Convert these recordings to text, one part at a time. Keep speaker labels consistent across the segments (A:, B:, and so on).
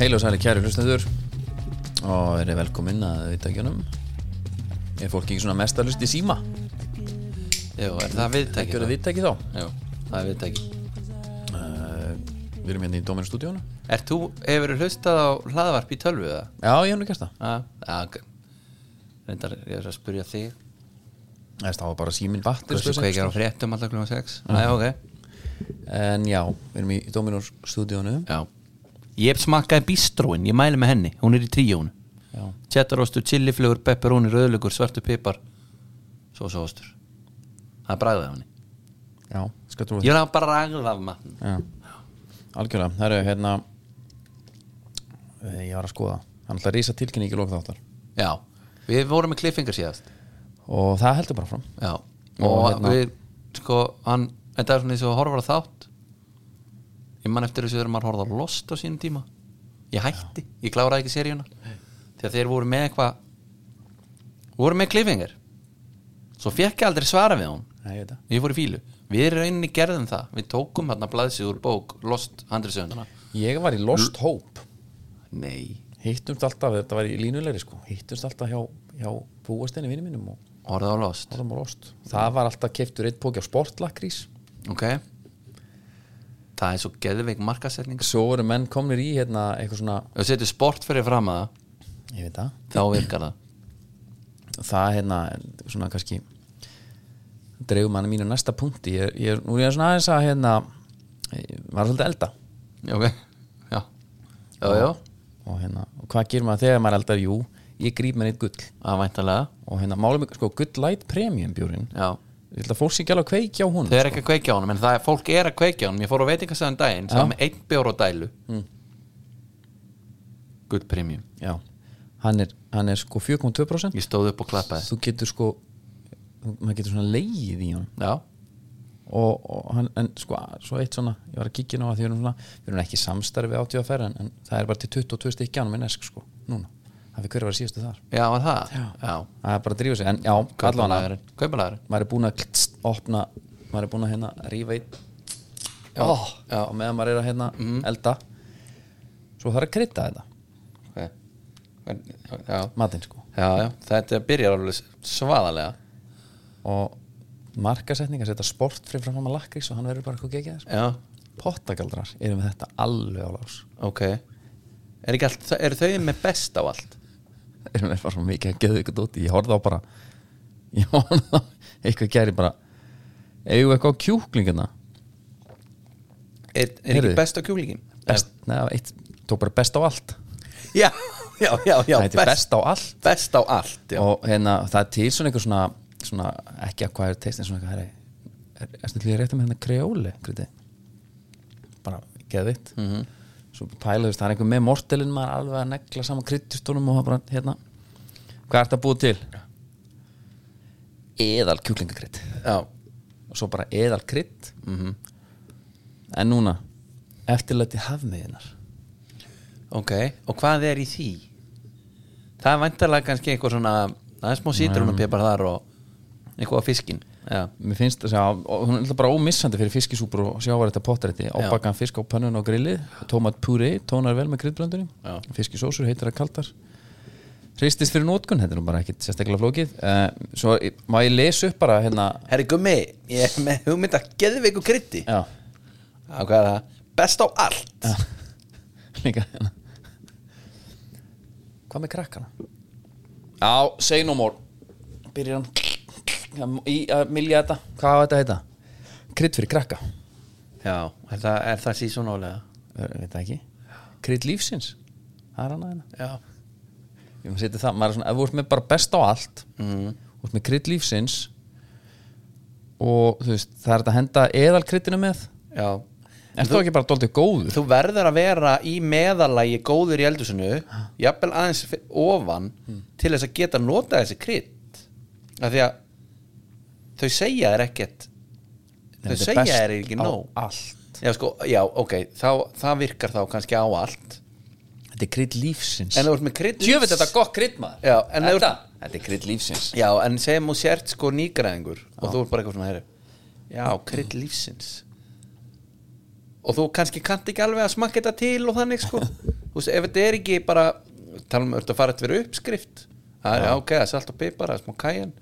A: Heil og sæli kæri hlustendur og verið velkomin að viðtækjunum Er fólk ekki svona mest að hlusta í síma?
B: Jú, er það viðtæki?
A: Gjörðu viðtæki þá?
B: Jú, það er viðtæki
A: Uh, við erum hérna í Dóminu stúdíónu
B: Er þú, hefur þú hlustað á hlaðvarp í tölvu eða?
A: Já, ég hef nú gert það
B: Já, já, ok Reyndar, ég er að spyrja þig
A: Þess, Það var bara síminn vatn sko,
B: Hversu kveikjar á fréttum alltaf klukkan 6? sko. Já, ok
A: En já, við erum í Dóminu stúdíónu
B: Já Ég smakkaði bistróin, ég mæli með henni Hún er í tríjón
A: Já.
B: Tjettarostu, chiliflugur, pepperoni, rauðlugur, svartu pipar Svo svo ostur Það er bragðið af henni
A: Já, skal trú
B: Ég vil hafa bragðið af matn
A: Já, algjörlega Það eru hérna eh, Ég var að skoða Hann ætla að rísa tilkynning í lók þáttar
B: Já, við vorum með kliffingar síðast
A: Og það heldur bara fram
B: Já, og,
A: hérna-
B: við sko, hann, þetta er svona eins og að horfa á þátt ég man eftir þessu þegar maður horfði á Lost á sínum tíma ég hætti, ég kláraði ekki seríuna því að þeir voru með eitthvað voru með klifingar svo fekk ég aldrei svara við hún
A: Nei, ég veit það
B: ég fór í fílu, við erum rauninni gerðum það við tókum hérna blaðsið úr bók Lost 100
A: Ég var í Lost Hope
B: Nei,
A: hittumst alltaf, þetta var í línulegri sko hittumst alltaf hjá, hjá búastinni vinni mínum og
B: horfði á Lost
A: orðum á lost það var alltaf keiftur eitt póki á sportlakrís
B: ok það er svo geðveik markasetning
A: svo voru menn komnir í hérna eitthvað svona,
B: og setur sport fyrir fram að það
A: ég veit það
B: þá virkar það
A: það hérna, svona kannski dreigum hann að mínu næsta punkti ég, ég, nú er ég svona aðeins að hérna ég var svolítið að elda
B: Já, ok Já, já, já
A: og hérna, og hvað gerir maður þegar maður eldar jú, ég gríp mér eitt gull
B: Það væntalega
A: og hérna, málum ykkur, sko, Good Light Premium bjúrin,
B: Já
A: ég held að fólk sé ekki alveg að kveikja á hún
B: Þau eru ekki að kveikja á honum En það er, fólk er að kveikja á honum Ég fór á veitingastæðan daginn Sá með einn bjór á dælu mm. Good premium
A: Já, hann er, hann er sko 4,2%
B: Ég stóð upp og klappaði
A: þú getur sko þú- maður getur svona leið í hann
B: Já
A: og, og hann, en sko, svo eitt svona ég var að kíkja nú að því við erum svona við erum ekki í samstarfi átíða ferð en, en það er bara til 22 stykki ánum í nesk sko, núna það fyrir hverju var síðustu þar
B: Já, var það Já, já.
A: það er bara að drífa sig, en já, allan að
B: Kaupalagurinn Kaupalagurinn
A: maður er búin að klst, opna maður er búin að hérna rífa í
B: Já, já. Mhm.
A: og meðan maður er að hérna elda svo þarf að krydda þetta
B: okay. En- Já,
A: matinn sko
B: já, já Þetta byrjar alveg svaðalega
A: og markasetningar setja sport fyrir fram að lakrís og hann verður bara eitthvað geggjað sko.
B: Já,
A: pottagaldrar erum við þetta alveg á lás
B: ok Er ekki allt Er þau með best á allt?
A: erum við bara svo mikið að geða ykkur út ég horfði á bara ég horfði á eitthvað gæri bara eigum við eitthvað á kjúklingina
B: Er, er
A: Heyrðu.
B: ekki best á kjúlíkin?
A: best, neða, eitt, tók bara best á allt
B: Já, já, já, já
A: það heitir best á allt
B: best á allt já.
A: og hérna, það er til svona einhver svona, svona ekki að hvað er teistin svona eitthvað herri, er, er snill ég rétt með hérna kreóli kryddið? bara geðvitt mm -hmm. svo pælaðist, það er einhver með mortelin maður alveg að negla saman kryddistónum og það bara hérna, hvað ert að búa til? eðal kjúklingakrydd
B: Já.
A: og svo bara eðal krydd -hmm. en núna eftirlæti hafmiðinar
B: ok, og hvað er í því? það er vantarlega kannski eitthvað svona það er smá sítrunapipar þar og eitthvað á fiskin já,
A: mér finnst þess að og hún er alltaf bara ómissandi fyrir fiskisúpur og sjávarætta potrætti ábakkan fisk á pönnun og grillið tómat púri, tónar vel með
B: Já.
A: kryddblöndunum fiskisósur, heitar að kaldar hristist fyrir nótkun, þetta er nú bara ekkit sérstaklega flókið uh, svo eh, má ég lesa upp bara hérna
B: herri gummi ég er með hugmynd að geðveiku krytti
A: já,
B: já, hvað er það? best á allt já,
A: líka hérna hvað með krakkana? já, say no more byrjar hann Já, í að milja þetta, hvað á þetta að heita? krydd fyrir krakka,
B: er það, er það sísonólega?
A: Eh, veit það ekki krydd lífsins, það er hann að hérna
B: já,
A: Ég maður setja það, maður er svona, ef þú ert með bara best á allt
B: Mhm.
A: mm. Þú ert með krydd lífsins Og þú veist, það er þetta að henda eðal kryddinu með
B: já
A: En þú ekki bara doldið góður
B: þú verður að vera í meðalagi góður í eldusinu jafnvel aðeins fyr- ofan til þess að geta notað þessi krydd af því að þau segja þér ekkert þau
A: Þetta
B: segja
A: best
B: þér ekki
A: á
B: nóg
A: allt
B: já, sko, já, ok, þá, það virkar þá kannski á allt
A: Þetta er krydd lífsins
B: en þú ert með krydd
A: Jöfitt, þetta er gott krydd maður
B: Já, en þú-
A: þetta, þetta er krydd lífsins
B: já, en segjum þú sért sko nýgræðingur og þú ert bara eitthvað svona heyri já, krydd lífsins og þú kannski kannt ekki alveg að smakka þetta til og þannig sko þú veist, ef þetta er ekki bara tala um, ertu að fara þetta verið uppskrift það er ok, það er salt og pipar, það er smá kæjan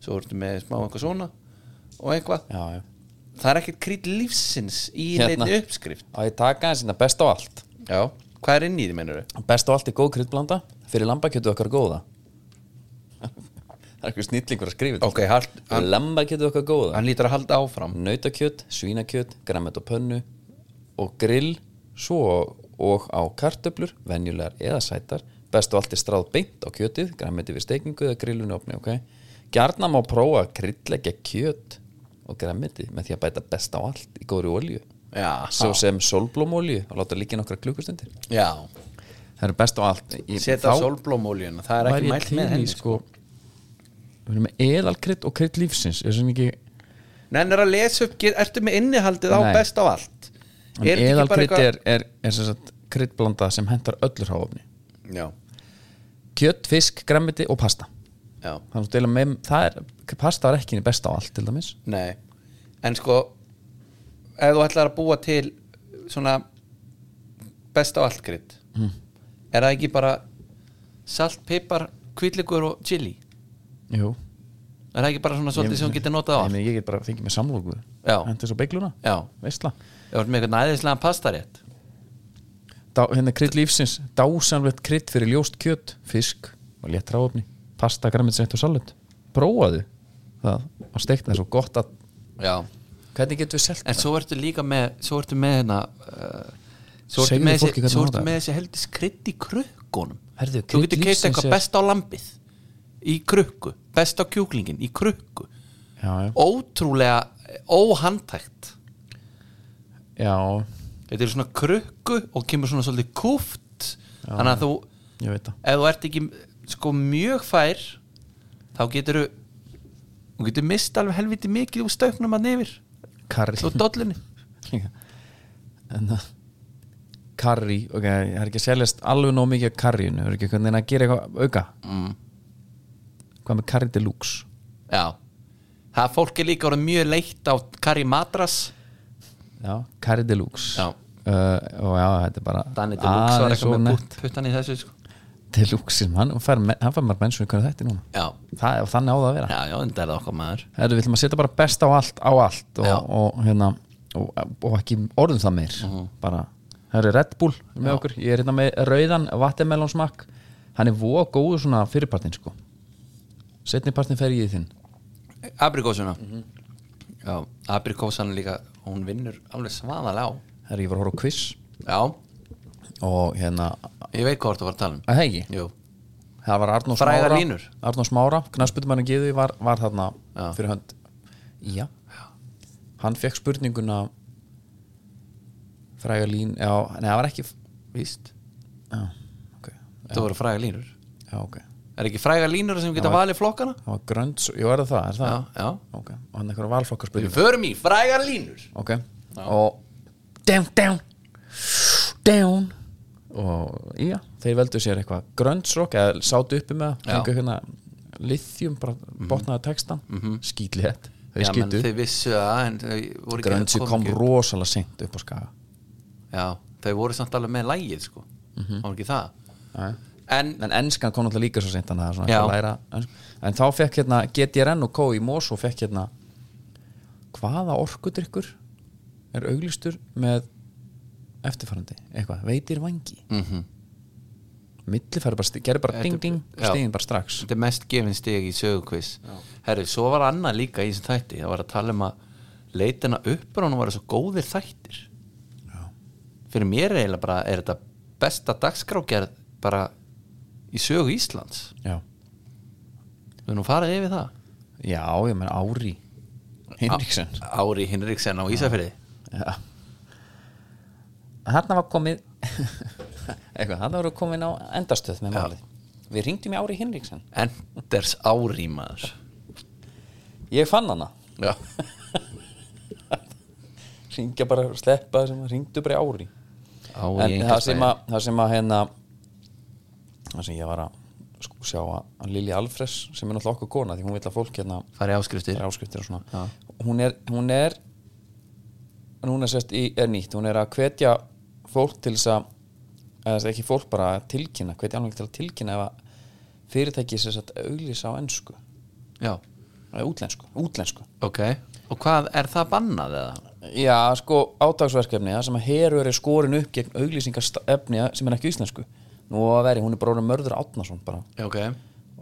B: svo ertu með smá eitthvað svona og eitthvað,
A: já, já
B: það er ekkert krýt lífsins í
A: Hérna.
B: hérna. neitt uppskrift
A: Á ég taka aðeins hérna best á allt
B: já, hvað er inn í því, mennur þau?
A: Best á allt er góð kryddblanda fyrir lambakjötu okkar góða Það er eitthvað snillingur að skrifa
B: ok, hald,
A: þetta Lambakjötu okkar góða
B: hann lítur að halda áfram
A: Nautakjöt, svínakjöt, græmet og pönnu og grill svo og á kartöflur venjulegar eða sætar best á allt er stráð beint á kjötið græmeti við steikingu eða grillunni opni ok Gjarna má prófa að kryddleggja kjöt og græmeti með því að bæta best á allt í góðri olju
B: já,
A: svo sem sólblómolju og láta líka nokkra klukkustundir
B: já,
A: það eru best á allt Ég-
B: setja
A: þá
B: sólblómóljuna það er
A: væri ég
B: ekki mælt
A: til í,
B: með henni sko.
A: sko, við erum með eðalkrydd og krydd lífsins er sem ekki
B: nennir að lesa upp, get- ertu með innihaldið á
A: Nei.
B: best á allt
A: en
B: Er þetta ekki bara
A: eðalkrydd
B: eitthvað-
A: er, er, er sem sagt, kryddblanda sem hentar öllur hráfni
B: já,
A: kjött, fisk, græmiti og pasta
B: já
A: Þannig að deila með, það er, pasta er ekki henni best á allt til dæmis
B: Nei, en sko ef þú ætlar að búa til svona best á allt krydd
A: Mm.
B: er það ekki bara salt, pipar, kvítlikur og chili
A: Jú,
B: er það ekki bara svona svolítið sem hún getur notað á
A: ég,
B: allt?
A: meni, ég get bara fengið með samlóku
B: Já.
A: hendur svo beigluna,
B: Já,
A: veistla
B: ef þú ert með eitthvað næðislega pastarétt
A: Dá, hérna krydd lífsins, dásamlegt krydd fyrir ljóst kjött, fisk og létt ráöfni, pasta, græmitsett og salut prófaðu það á steikna er svo gott að
B: Já,
A: hvernig getur við selt
B: en svo ertu líka með svo ertu með hérna uh, svo ertu
A: Segðu
B: með
A: fólki hvernig
B: þessi, svo
A: á
B: ertu
A: það.
B: með þessi heldis krydd í krukkunum
A: Herðu,
B: þú
A: krydd
B: getur keitt
A: lífsins
B: eitthvað
A: er-
B: best á lambið í krukku, best á kjúklingin í krukku
A: já, já,
B: ótrúlega eh, óhandtækt
A: já,
B: þetta er svona krukku og kemur svona svolítið kúft þannig að þú,
A: ég veit það
B: ef þú ert ekki sko mjög fær þá getur þú getur mist alveg helviti mikið úr stöknum að nefir
A: karri
B: og dollunni
A: líka. en það karri, ok, það er ekki að seljast alveg nóg mikið af karrinu, það er ekki hvernig að gera eitthvað auka
B: mm.
A: hvað með karri deluxe
B: já það fólk er líka orðið mjög leitt á Kari Matras
A: já, karri deluxe
B: Já.
A: Uh, og já, þetta er bara
B: Danni til Lux var
A: aðeins
B: eitthvað
A: of
B: með
A: nett.
B: putt, puttan í þessu sko.
A: Deluxe, hann fær, hann fær maður mennsum í hverju þetta núna
B: já,
A: Það er og þannig á það að vera
B: já, já, enda er það okkar maður
A: Herru, við ætlum að setja bara best á allt á allt
B: Já.
A: og, og, hérna, og, og ekki orðum það meir bara, herru, Red Bull er með okkur, ég er hérna með rauðan vattemelonsmakk, hann er voða góður svona fyrirpartin sko setnipartin fer ég í þinn
B: Abrikósuna já, Abrikósan líka hún vinnur alveg svaðalega á
A: herru, ég var að horfa á quiz
B: já,
A: og hérna,
B: Ég veit hvað þú var að tala um
A: að hegi
B: Jú,
A: það var Arnór
B: Frægar
A: Smára
B: línur.
A: Arnór Smára, knarsputumann Gíðu var, var þarna
B: Já.
A: fyrir hönd já, hann fekk spurninguna fræga lín já, nei, það var ekki
B: víst
A: já, ok,
B: Þú voru fræga línur
A: já, ok
B: Er ekki fræga línur sem geta valið flokkana?
A: það var grönd, jú, er það það, er það?
B: Já, já
A: ok, og hann eitthvað
B: Við
A: valflokkarspurning
B: förum í fræga línur
A: ok, og down, down down og já, þeir veldu sér eitthvað gröndsrokk eða sátu uppi með það,
B: Já. Mhm.
A: fengu hérna lithium, bara botnaði textan mm -hmm. skýtlétt, þeir
B: Já, menn
A: skýtu
B: þau vissu það en þau voru ekki
A: grönsi kom
B: ekki-
A: rosalega seint upp á skaga
B: Já, þau voru samt alveg með lægið sko mm var ekki það
A: Nei.
B: En,
A: en enskan kom náttúrulega líka svo seint þannig að það er svona
B: Já.
A: eitthvað að læra ensku. en þá fekk hérna GTRN og K í Mós og fekk hérna hvaða orkudrykkur er auglistur með eftirfarandi, eitthvað, veitir vangi
B: mm
A: milli færi bara, sti- gerði bara
B: Þetta-
A: ding ding
B: já.
A: stigin bara strax
B: þetta er mest gefin stig í sögukviss Herru, svo var annað líka í þessum þætti Það var að tala um að leitina upprann var svo góðir þættir
A: Já.
B: Fyrir mér er eiginlega bara er þetta besta dagskrágerð bara í sögu Íslands
A: já,
B: Við erum farið yfir það
A: já, ég menn Ári Hinriksen
B: Ári Hinriksen á Ísafirði
A: Já. Þarna var komið eitthvað, þarna voru komin á endastöð með málið. Við ringdum í Ári Hinriksen.
B: Enders Ári maður
A: Ég fann hana.
B: Já,
A: Ringja bara, sleppa sem að ringdu bara í Ári.
B: Ári
A: en það sem að, það sem að hérna, það sem ég var að sko, sjá að að Lili Alfres sem er náttúrulega okkur kona því hún vil að fólk hérna
B: Farið áskriftir
A: er áskriftir og svona hún er, hún er en hún er sérst í, er nýtt, hún er að hvetja fólk til þess að eða þess að ekki fólk bara að tilkynna hvernig alveg til að tilkynna ef að fyrirtæki sér satt auglýsa á ennsku
B: já,
A: eða útlensku, útlensku
B: ok og hvað, er það bannað eða?
A: já, sko, átagsverkefni það sem að herur er skorin upp gegn auglýsingarefni sem er ekki íslensku nú á að veri, hún er bara orðin mörður Átnason bara
B: ok,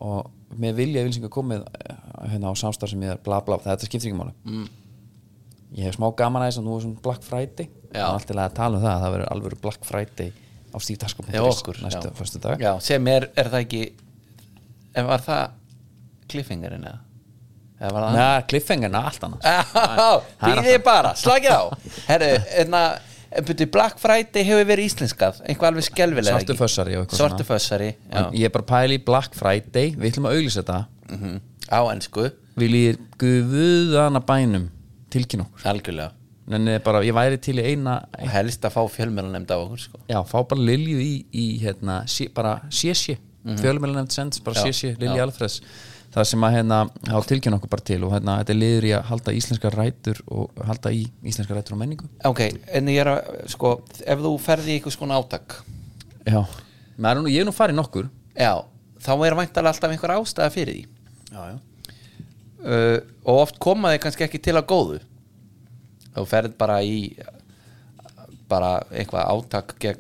A: og með vilja yfirlýsingar komið eh, hérna á samstarf sem ég er bla bla þetta skiptir ekki máli mm. ég hef smá gaman aðeins að nú er svona Black Friday
B: Já.
A: og allt í lagi að tala um það, það verður alvöru Black Friday á
B: Já, okkur,
A: stíftaskop.is
B: já.
A: næstu fyrstu dag
B: já, sem er, er það ekki en var það cliffhangerinn eða? eða var það
A: Nei, cliffhangerna, allt annars
B: Já, býðið bara, slagið á Herru, enna Buti, Black Friday hefur verið íslenskað Einhvað alveg skelvilega
A: Svartu fössari og eitthvað
B: Svartu
A: svona.
B: fössari,
A: En
B: já
A: ég er bara að pæla í Black Friday við ætlum að auglýsa þetta
B: Mhm. Á ennsku,
A: viljið guðana bænum tilkynna okkur
B: algjörlega
A: en eh, bara, ég væri til í eina
B: Og helst að fá fjölmjöla nefnda á okkur sko.
A: já, fá bara Lilju í, í hérna, sé, bara sési mm -hmm. fjölumælunefnd sends, bara sési, Lilju Alfreds það sem að hérna, þá tilkynna okkur bara til og hérna, þetta er liður í að halda íslenskar rætur og halda í íslenskar rætur og menningu
B: Ok, en ég er að, sko Ef þú ferði í einhvers konar átak
A: já, maður er nú, ég er nú farið nokkur
B: Já, þá er væntalega alltaf einhver ástæða fyrir því
A: já, já
B: uh, Og oft koma þið kannski ekki til að góðu Þú ferð bara í bara eitthvað átak gegn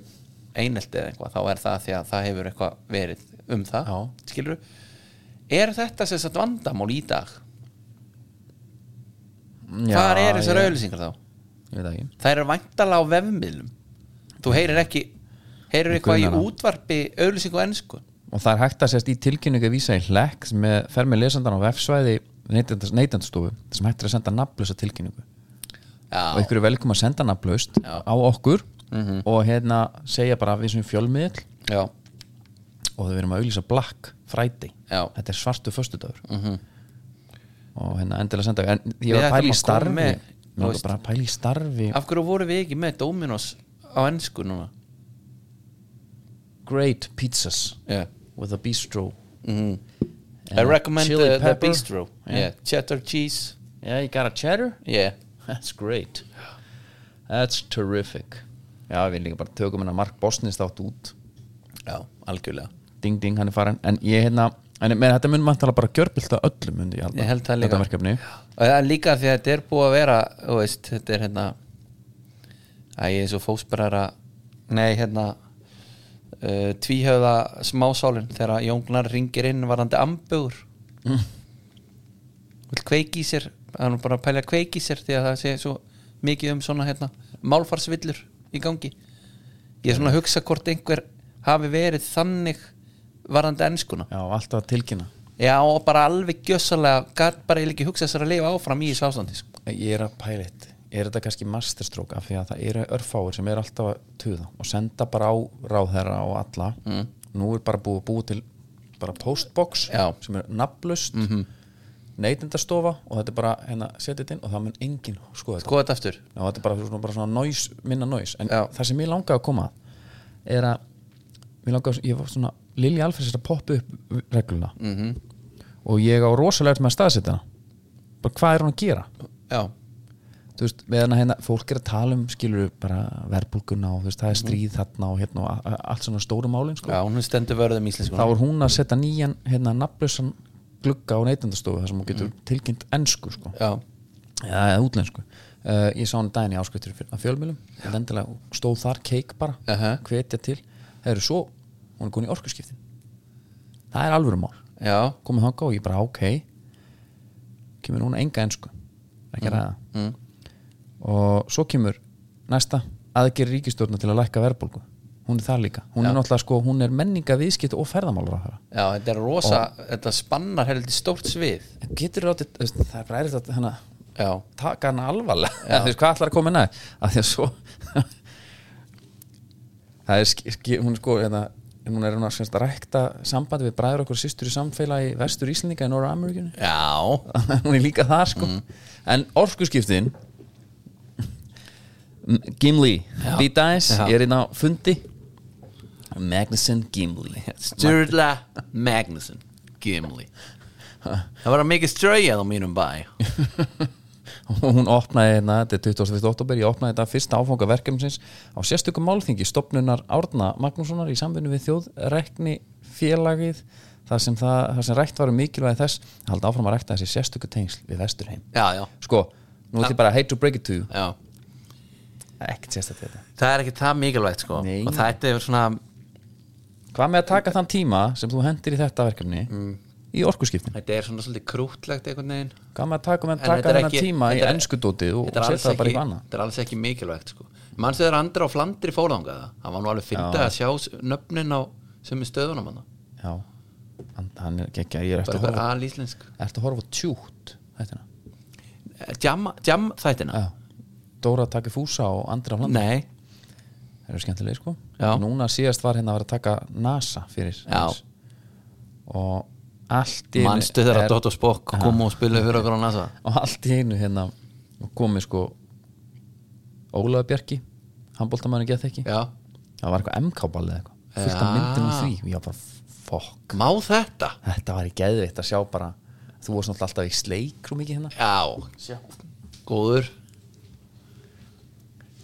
B: einelti eða eitthvað, þá er það því að það hefur eitthvað verið um það,
A: Já.
B: skilur Er þetta sem sagt vandamál í dag? Hvar eru þessar
A: ég-
B: auðlýsingar þá?
A: ég veit það ekki
B: Það eru væntalega á vefmiðlum Þú heyrir ekki heyrir eitthvað í
A: grunar það.
B: útvarpi auðlýsingu ennsku
A: og það er hægt að sérst í tilkynningu að vísa í hlekk sem er- fer með lesandan á vefsvæði neytendastofu, sem hægt er að senda nafnlösa tilkynningu og
B: Já,
A: ykkur er velkom að senda nafnlaust
B: Já.
A: á okkur og hérna segja bara við sem fjölmiðl
B: já,
A: og við erum að auglýsa Black Friday
B: já
A: þetta er svartu föstudagur og hérna endilega senda en ég
B: Við
A: var að pæla
B: ættum
A: í
B: að
A: starfi
B: koma með,
A: með,
B: þú veist-
A: bara að pæla í starfi
B: Af hverju voru við ekki með Dominos á ennsku núna?
A: Great pizzas
B: Yeah.
A: with a bistro
B: Mm. I
A: Yeah.
B: recommend
A: Chili
B: the, the
A: pepper.
B: bistro yeah. Cheddar cheese
A: yeah you got a cheddar?
B: yeah.
A: that's great that's terrific já við líka bara tökum hennar Mark Bosnist átt út
B: Já, algjörlega
A: ding ding hann er farin en ég hérna en með þetta mun mantala bara gjörbylta öllum myndi ég halda
B: Ég held það líka.
A: þetta verkefni
B: og það er líka því að þetta er búið að vera þú veist, þetta er hérna að ég er svo fósbrara nei hérna uh, tvíhöfða smásálin þegar Jóngnar ringir inn varandi ambugur
A: Mm.
B: vil kveiki í sér hann er bara að pælja kveiki í sér því að það sé svo mikið um svona hérna málfarsvillur í gangi ég er svona að hugsa hvort einhver hafi verið þannig varandi ennskuna
A: já alltaf að tilkynna
B: Já, og bara alveg gjössalega gæt bara eiginlega ekki hugsað sér að lifa áfram í þessu ástandi sko.
A: Ég er að pæla eitt Er þetta kannski masterstroke af því að það eru örfáir sem er alltaf að tuða og senda bara á ráðherra og alla mm. Nú er bara búið að búið til bara postbox
B: Já. Mhm.
A: sem er nafnlaust mm og þetta er bara hérna setja þetta inn og það mun enginn skoða þetta
B: Skoða þetta aftur
A: Já, þetta er bara svona, bara svona nois, minna nois en
B: Já.
A: það sem ég langaði að koma að er að mér langaði, ég var svona Lilja Alfreds er að poppa upp regluna -hmm.
B: Mhm.
A: og ég á rosalegt með að staðsetja hana bara hvað er hún að gera
B: Já,
A: þú veist, meðan að hérna, fólk er að tala um skilur bara verðbólguna og þú veist, það er stríð þarna og hérna og a- a- allt svona stóru málin sko.
B: Mhm. já hún stendur vörðum íslensku
A: þá er hún að setja nýjan hérna nafnlösan glugga á neytendastofu þar sem hún getur tilkynnt ennsku sko,
B: Mhm. Já,
A: eða eða útlensku uh, ég sá hann daginn í áskvittur að fjölmjölum endilega stóð þar keik bara
B: Aha.
A: hvetja til, það eru svo hún er góðin í orkuskiptin það er alvöru mál,
B: já,
A: komið þangað og ég bara ok kemur núna enga ennsku ekki ræða
B: mm.
A: og svo kemur næsta aðgerð ríkistjórna til að lækka verðbólgu hún er það líka, hún er náttúrulega sko hún er menninga viðskipt og ferðamálar á það
B: já þetta er rosa Þetta spannar heldur stórt svið
A: en getur ráttið, það er bara erið þetta hana,
B: Já,
A: taka hana alvarlega Eða, þú veist hvað ætlar að koma næð að því að svo það er ski- ski- hún er sko hérna, hún er hún að semst að rækta sambandi við bræður okkur og systur í samfélagi vestur Íslendinga í Norra Ameríkinu
B: já,
A: hún er líka það sko en orkuskiptin M- Gimli B-Dice,
B: Já.
A: ég er einn á fundi Magnuson Gimli
B: Sturla Magnusson Gimli Það var að mikið ströið á mínum bæ
A: og hún opnaði hérna, þetta er 21. oktober ég opnaði þetta fyrsta áfanga verkefnisins á sérstökum málþingi stopnunar Árna Magnússonar í samvinnu við þjóðrekni félagið þar sem, það, þar sem rækt var um mikilvæði þess að halda áfram að rækta þessi sérstöku tengsl við vesturheim
B: já, já,
A: sko, nú ætlum ég bara að hate to break it to you
B: já
A: ekkert sérstætt þetta
B: það er ekki það mikilvægt sko
A: Nei.
B: og þetta er svona
A: hvað með að taka þann tíma sem þú hendir í þetta verkefni
B: Mm.
A: í orkuskiptin
B: þetta er svona svolítið krútlegt einhvern veginn
A: hvað með að taka, með
B: En
A: að taka
B: þetta er
A: þennan
B: ekki-
A: tíma í
B: þetta er-
A: ennskudótið Sko, og,
B: þetta er
A: og
B: alls
A: setja það bara
B: ekki,
A: í banna
B: þetta er alls ekki mikilvægt sko. mannstu þegar andri á flandri fórðangað hann var nú alveg fyndið að sjá s- nöfnin á sem er stöðunum hann
A: já, hann, hann er ekki ég er eftir að horfa
B: bara eitthvað alíslensk
A: Ertu að horfa á tjútt þetta?
B: Eh, jam, jam þættina
A: Já. Dóra að taka fúsa og andri á landa
B: nei,
A: Það eru skemmtilega sko
B: Já.
A: Núna síðast var hérna að vera að taka NASA fyrir
B: Já.
A: hans. Og allt í einu
B: mannstu þegar
A: er-
B: að Dotto Spock kom og spilaði fyrir okkur á NASA
A: Og allt í einu hérna og komið sko Ólafi Bjarki Handbóltamæður geð þekki
B: já,
A: Það var eitthvað MK-ballið eitthvað Fullt af
B: Já.
A: myndum í því Já bara fokk
B: má þetta
A: Þetta var í geðvitt að sjá bara Þú varst náttúrulega alltaf í sleik og mikið hérna
B: já, góður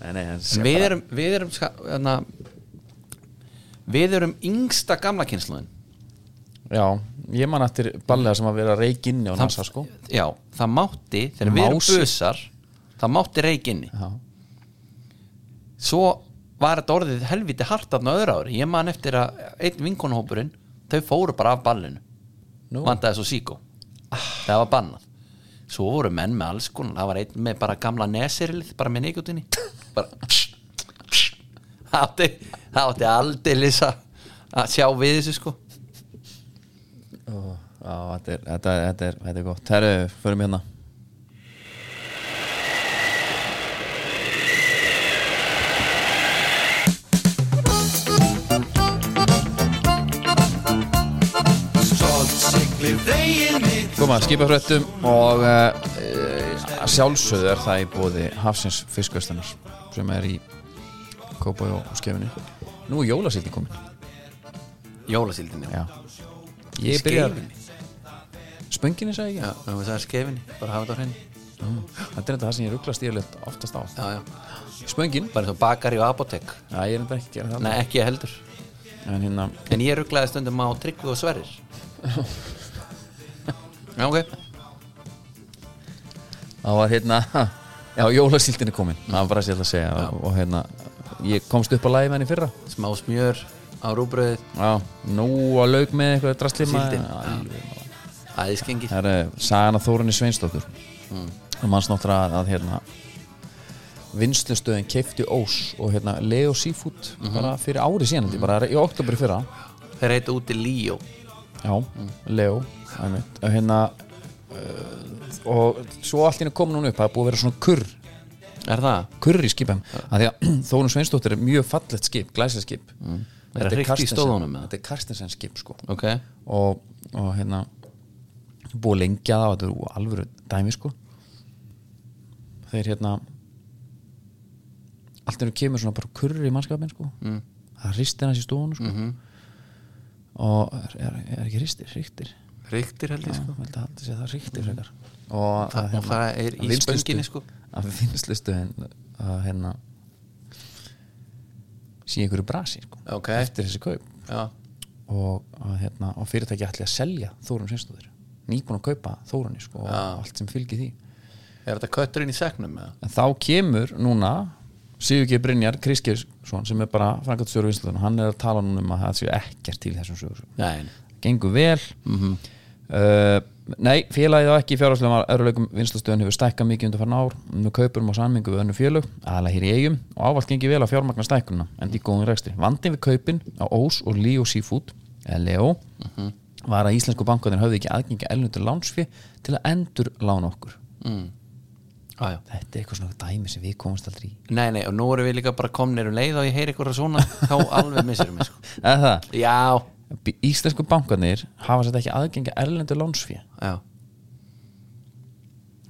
A: Nei, nei, en
B: En við erum, við erum ska- hérna, við erum yngsta gamla kynsluðin
A: Já, ég man eftir ballega sem að vera reikinni á NASA sko
B: já, það mátti, þegar við erum
A: Mási.
B: busar það mátti reikinni
A: Já,
B: svo var þetta orðið helviti hart af öðru ári, ég man eftir að einn vinkonhópurinn, þau fóru bara af ballinu
A: Nú.
B: vandaði svo síkó það var bannað svo voru menn með alls konar, það var einn með bara gamla neserilið, bara með neikutinni bara það átti, það átti aldeilis að að sjá við þessu sko
A: Ó, já þetta, er, þetta, er, þetta, er, þetta er gott Herru, förum hérna Koma, skipafrættum og uh, sjálfsögðu er það í bóði Hafsins fiskvestanar sem er í Kópa og Skefinu Nú er jólasýtni komin
B: jólasildinni,
A: Já. Ég byrjar Spönginni sagði ég
B: já, það var skefinni, bara hafa þetta á hreinu
A: Þetta er þetta það sem ég ruggla stíðilegt oftast á
B: já, já,
A: Spöngin
B: bara eins og bakari og apotek
A: Já, ég er þetta ekki að gera það
B: nei, ekki ég heldur
A: En hérna
B: En ég rugglaði stundum á Tryggvi og Sverrir Já, ok
A: Það var hérna Já, jólasíldin er komin Það var bara sér að segja og, og hérna Ég komst upp á lagi með henni í fyrra
B: Smá smjör á rúbröðið
A: Já, nú að lauk með eitthvað drastlið maður.
B: Síldin.
A: Alveg maður.
B: Æðiskengi
A: Það er eh, Sagan að Þórunni Sveinsdóttur og manns náttúrulega að, að hérna vinslustöðin keifti ós og hérna Leo Seafood bara fyrir ári síðan mm bara í oktober fyrra
B: Þeir heita úti Líó
A: Já, Leo einmitt. Og hérna uh, og svo allt hérna kom núna upp að það er búið að vera svona kurr
B: Er það?
A: kurr í skipum að því að Þórun Sveinsdóttir er mjög fallegt skip, glæsað skip mm.
B: Er það hrikkt í stóðunum, eða?
A: Þetta er Karstensen skip sko
B: Ok
A: og, og hérna búið að lengja það og þetta er alvöru dæmi sko þeir hérna allt er kemur svona bara kurri í mannskapin sko mm. það ristir hans í stofunum sko
B: Mhm.
A: og er, er, er ekki ristir, ristir
B: Ríktir held ég sko
A: sko. held að haldi sér það ristir frekar Mhm. og hérna,
B: Það- og það er í spönginni, sko.
A: að vinslustu að hérna sé einhverju brasi sko
B: Ok.
A: eftir þessi kaup
B: Já
A: og, að, hérna, og fyrirtæki ætli að selja Þórun Sveinsdóttir nýbúin að kaupa Þórunni sko, og allt sem fylgir því
B: Er þetta kötturinn í segnum eða?
A: en þá kemur núna Sigur G. Brynjar Kriskjesson sem er bara frangatstjóru vinslutun hann er að tala núna um að það séu ekkert til í þessum sögur
B: Nei
A: gengur vel
B: Mhm.
A: uh, nei, félagið á ekki fjárhagslega örlögum vinslustöðun hefur stækkað mikið undir farin ár nú kaupurum á sammingu við önnu félög aðalega hér í eigum og ávallt gengi vel á fjármagna stækkununa en í góðum rekstri vandin við kaupin á Ós og Leo Seafood eða Leo
B: Mhm.
A: var að íslensku bankaðin höfðu ekki aðgengi elnundur lánsfi til að endur lána okkur
B: mm. ah, já.
A: þetta er eitthvað svona dæmi sem við komumst aldrei í
B: Nei, nei, og nú erum við líka bara komnir um leið og ég heyri eitthvað svona þá alveg missir mig sko
A: eða það,
B: Já
A: B- íslensku bankanir hafa sett ekki aðgengi erlendur lánsfi
B: Já,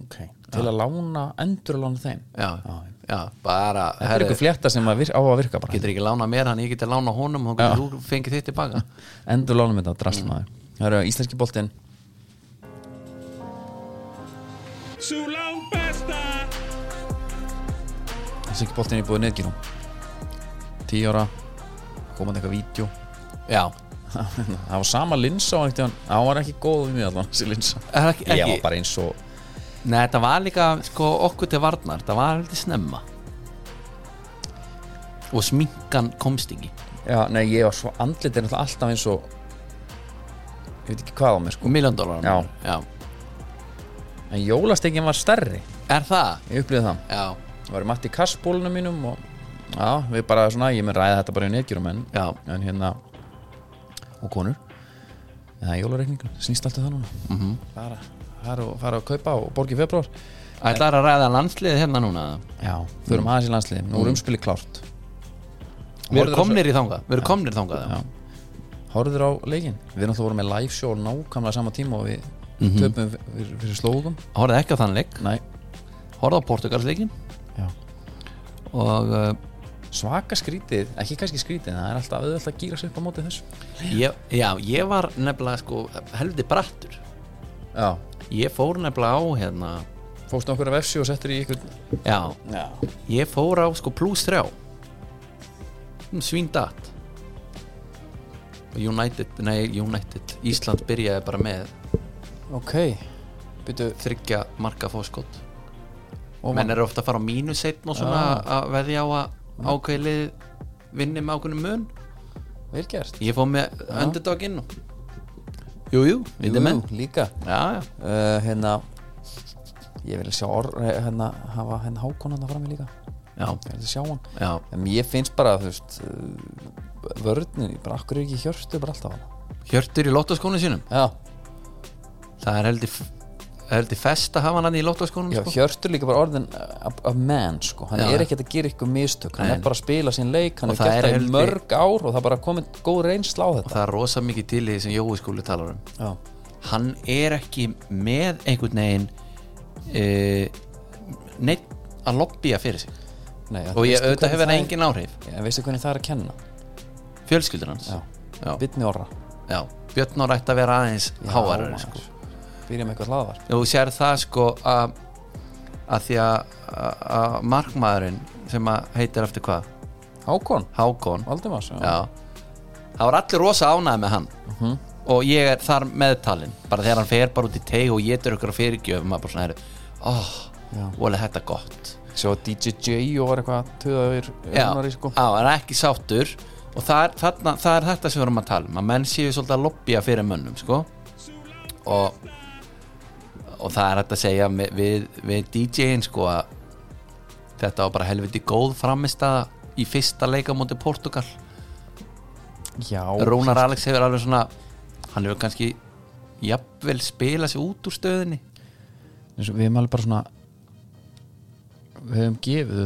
A: okay. til að lána endur lána þeim
B: já,
A: Já,
B: já Bara,
A: Þetta er
B: herri,
A: eitthvað flétta sem að vir, á að virka bara
B: getur ekki lána mér hann, ég getur lána honum og
A: Já.
B: þú fengið þitt tilbaka
A: Endur lánum þetta á drastmaður Það eru íslenski boltinn
C: Sú lang best
A: Það sé ekki boltinn í búið neðgírum Tíu ára komandi eitthvað vídeo
B: Já,
A: Það var sama linsa og eitthvað Það var ekki góð við mig allan þessi linsa
B: Er ekki,
A: Ég
B: ekki.
A: var bara eins og
B: Nei, þetta var líka sko, okkur til varnar Þetta var heldur snemma Og sminkan komst ekki
A: Já, nei, ég var svo andlit er náttúrulega alltaf eins og Ég veit ekki hvað á mér
B: Og
A: sko
B: miljón dólar
A: Já.
B: Já.
A: En jólastekkin var stærri
B: Er það?
A: Ég upplýði það
B: Já,
A: Það var í matti kassbólunum mínum og Já, við bara svona Ég mun ræða þetta bara í neðgjurum en
B: já
A: En hérna Og konur En það er jólareikningur Snýst alltaf það núna mm -hmm. Bara fara og, fara og kaupa og borgi februar
B: Ætlar að ræða landsliðið hérna núna
A: Já, förum aðeins í landsliðum Nú er umspili klárt
B: Við
A: Horfðir á
B: erum komnir í þangað Við erum komnir þangað
A: Já.
B: já.
A: Horður á leikin Við náttúrulega vorum með live show nákvæmlega sama tíma og við mm -hmm. töpum fyrir, fyrir slóðum
B: Horfði ekki á þann leik
A: Nei,
B: Horfði á Portugalsleikin
A: já
B: Og uh,
A: Svaka skrítið, ekki kannski skrítið en Það er alltaf auðvitað að gýra sig upp á móti þessu
B: ég, já, ég var nefnilega sko, helviti brattur
A: Já,
B: Ég fór nefnilega á hérna
A: fórstu okkur af FC og settur í ykkur
B: Já,
A: Já,
B: ég fór á sko plus Hmm, 3 svíndat United, nei United Ísland byrjaði bara með
A: ok Byttu
B: þryggja marka fóskot
A: og
B: menn eru ofta að fara á mínus einn og svona að veðja á að ákveðlið vinni með ákveðnum mun
A: vel gert
B: ég fór með underdoginn og- jú, jú,
A: Jú,
B: vinni menn
A: líka
B: já, já,
A: uh, hérna ég vil sjá orð hérna hafa hérna hákon hann að fram í líka
B: já,
A: ég vil sjá hann
B: já
A: en ég finnst bara þú veist uh, vörðnin bara akkur er ekki hjörstu bara alltaf hann
B: Hjörtur í lóttaskónu sínum
A: já,
B: það er heldur heldur fest að hafa hann hann í lóttaskónum
A: já
B: sko.
A: hjörstu er líka bara orðin af af man sko hann
B: Já.
A: er ekkert að gera ykkur mistök hann
B: Nei.
A: er bara að spila sín leik hann
B: Og
A: er
B: það
A: gert
B: er
A: það í
B: heldur-
A: mörg ár og það er bara komið góð reynsla á
B: og
A: þetta
B: það er rosa mikið til í því sem Jói skúli talar um
A: já,
B: hann er ekki með einhvern veginn uh, neitt að lobbya fyrir sig
A: nei en
B: og ég
A: veistu
B: auðvitað
A: hvernig
B: hefur
A: það
B: hann
A: er-
B: engin áhrif
A: Já, en veistu hvernig það er að kenna
B: fjölskyldur hans
A: já,
B: Já.
A: bitni orra
B: Já. Björn Nór ætti að vera aðeins hávarari sko.
A: byrja með eitthvað hlaðvar
B: og þú sér það sko að að því að að- að markmaðurinn sem að heitir eftir hvað
A: hákon,
B: Hákon
A: Valdimars já. Mhm.
B: Já. það var allir rosa ánæði með hann og ég er þar meðtalinn bara þegar hann fer bara út í teig og ég er ykkur að fyrirgjöfum maður bara svona er oh,
A: Já.
B: vola þetta gott
A: Svo DJ J og var eitthvað töðaður
B: já,
A: öfnari sko
B: já, hann er ekki sáttur og það er, þarna, það er þetta sem við erum að tala um að menn séu svolítið að lobbya fyrir mönnum sko. og og það er hægt að segja við, við, við DJ-in sko að þetta var bara helviti góð framistæða í fyrsta leika mútið Portugal
A: Já,
B: Rúnar Alex hefur alveg svona hann hefur kannski jafnvel spila sig út úr stöðinni
A: eins og við hefum alveg bara svona Við hefum gefið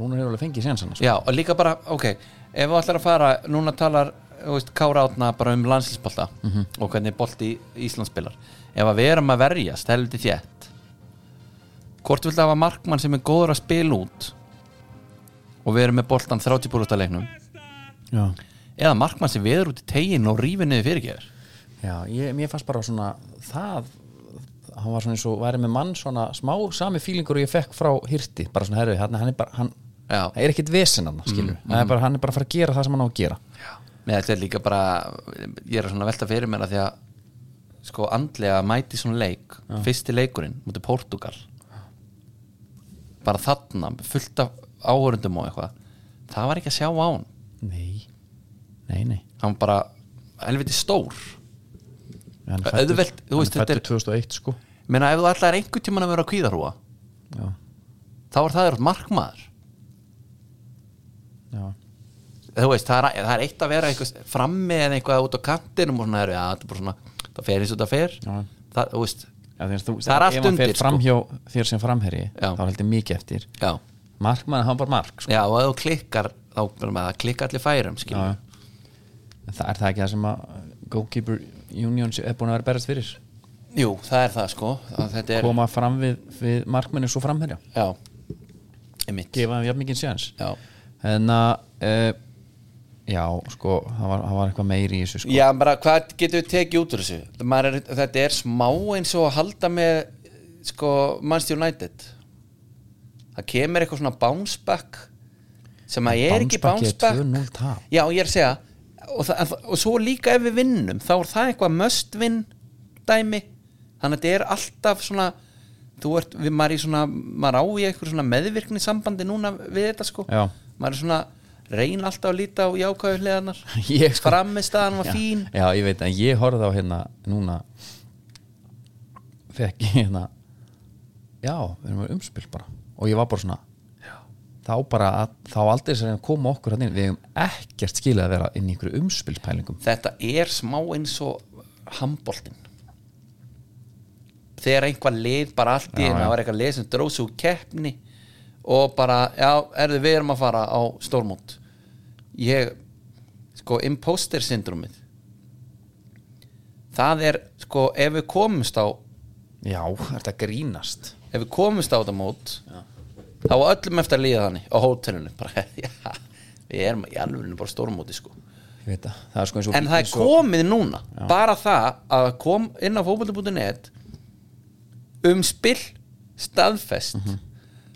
A: Rúnar hefur alveg fengið séns hann sko.
B: já og líka bara, ok ef við ætlar að fara, núna talar þú veist, Kára Átna bara um landslísbolta og hvernig bolti Íslandsspilar ef að við erum að verjast, heldur þétt hvort vil það hafa markmann sem er góður að spila út og við erum með boltan 30 búrúta leiknum
A: Já,
B: eða markmann sem veður út í tegin og rífið niður fyrirgeður
A: já ég, mér fannst bara svona það hann var svona eins og væri með mann svona smá sami fílingur og ég fekk frá hirti bara svona herfið, hann, hann er bara hann,
B: Já.
A: það er ekkit vesen hann, skilur hann, er bara, hann er bara að fara að gera það sem hann á að gera
B: Nei, þetta er líka bara ég er svona að velta fyrir mér að því að sko andlega mæti svona leik fyrsti leikurinn mútið Portugal bara þarna fullt af áhörundum og eitthvað það var ekki að sjá á hann
A: Nei, nei, nei
B: hann var bara helviti stór
A: Hann
B: Ö-
A: fæddur-
B: auðvelt, þú
A: hann
B: veist, þetta
A: fæddur 2001 sko
B: menna ef þú allar einhvern tímann að vera að kvíðarúa
A: Já,
B: þá er það eitthvað markmaður
A: já
B: þú veist, það er, það er eitt að vera eitthvað frammi eða eitthvað út á kantinum og svona, já, þetta er bara svona, það fer eins og það fer
A: Já.
B: það, þú veist,
A: Já, þegar þú,
B: Það er allt
A: ef hann
B: undir, sko.
A: fer framhjá þér sem framherji
B: Já.
A: þá heldur mikið eftir
B: já
A: markmann, hann bara mark sko.
B: Já, og ef þú klikkar þá bara með að klikka allir færum skilur.
A: já, já. En það er það ekki það sem að goalkeeper union sé- er búin að vera berast fyrir
B: Jú, það er það sko að þetta er,
A: koma fram við, við markmanni svo framherja
B: já einmitt,
A: gefa hann jafn mikið sjans
B: já
A: en að e, já, sko, það var, það var eitthvað meiri í þessu sko.
B: Já, bara hvað getur við tekið út úr þessu? Maður Er, þetta er smá eins og að halda með sko Manchester United það kemur eitthvað svona bounce back sem að ég er ekki bounce back
A: 2-0 tap
B: já ég er að segja og, það, en það- og svo líka ef við vinnum þá er það eitthvað must win dæmi þannig að þetta er alltaf svona þú ert, við maður í svona maður á í eitthvað svona meðvirkni sambandi núna við þetta sko
A: Já.
B: maður er svona reyn alltaf að líta á jákvæðu hliðanar
A: Ég sko-
B: frammistaðan var
A: já,
B: fín
A: já, ég veit, en ég horfði á hérna núna fekk ég hérna já, við erum umspil bara og ég var bara svona þá bara, að, þá aldrei sér að koma okkur hann inn við hefum ekkert skilið að vera inn í einhverju umspilspælingum
B: þetta er smá eins og handboltinn þegar einhvað lið bara allt í
A: Já,
B: einu,
A: já.
B: það var eitthvað lið sem dróð svo keppni og bara, já, erðu við erum að fara á stórmót ég, sko, imposter syndromið það er, sko, ef við komumst á ef
A: já, þetta grínast
B: við komumst á þetta mót þá var öllum eftir að líða þannig á hótelinu, bara, já við erum í alveg bara á stórmóti, sko
A: ég veit það, það er sko eins og
B: en það er
A: eins og-
B: komið núna bara það að kom inn á fótbolti.net um spill staðfest og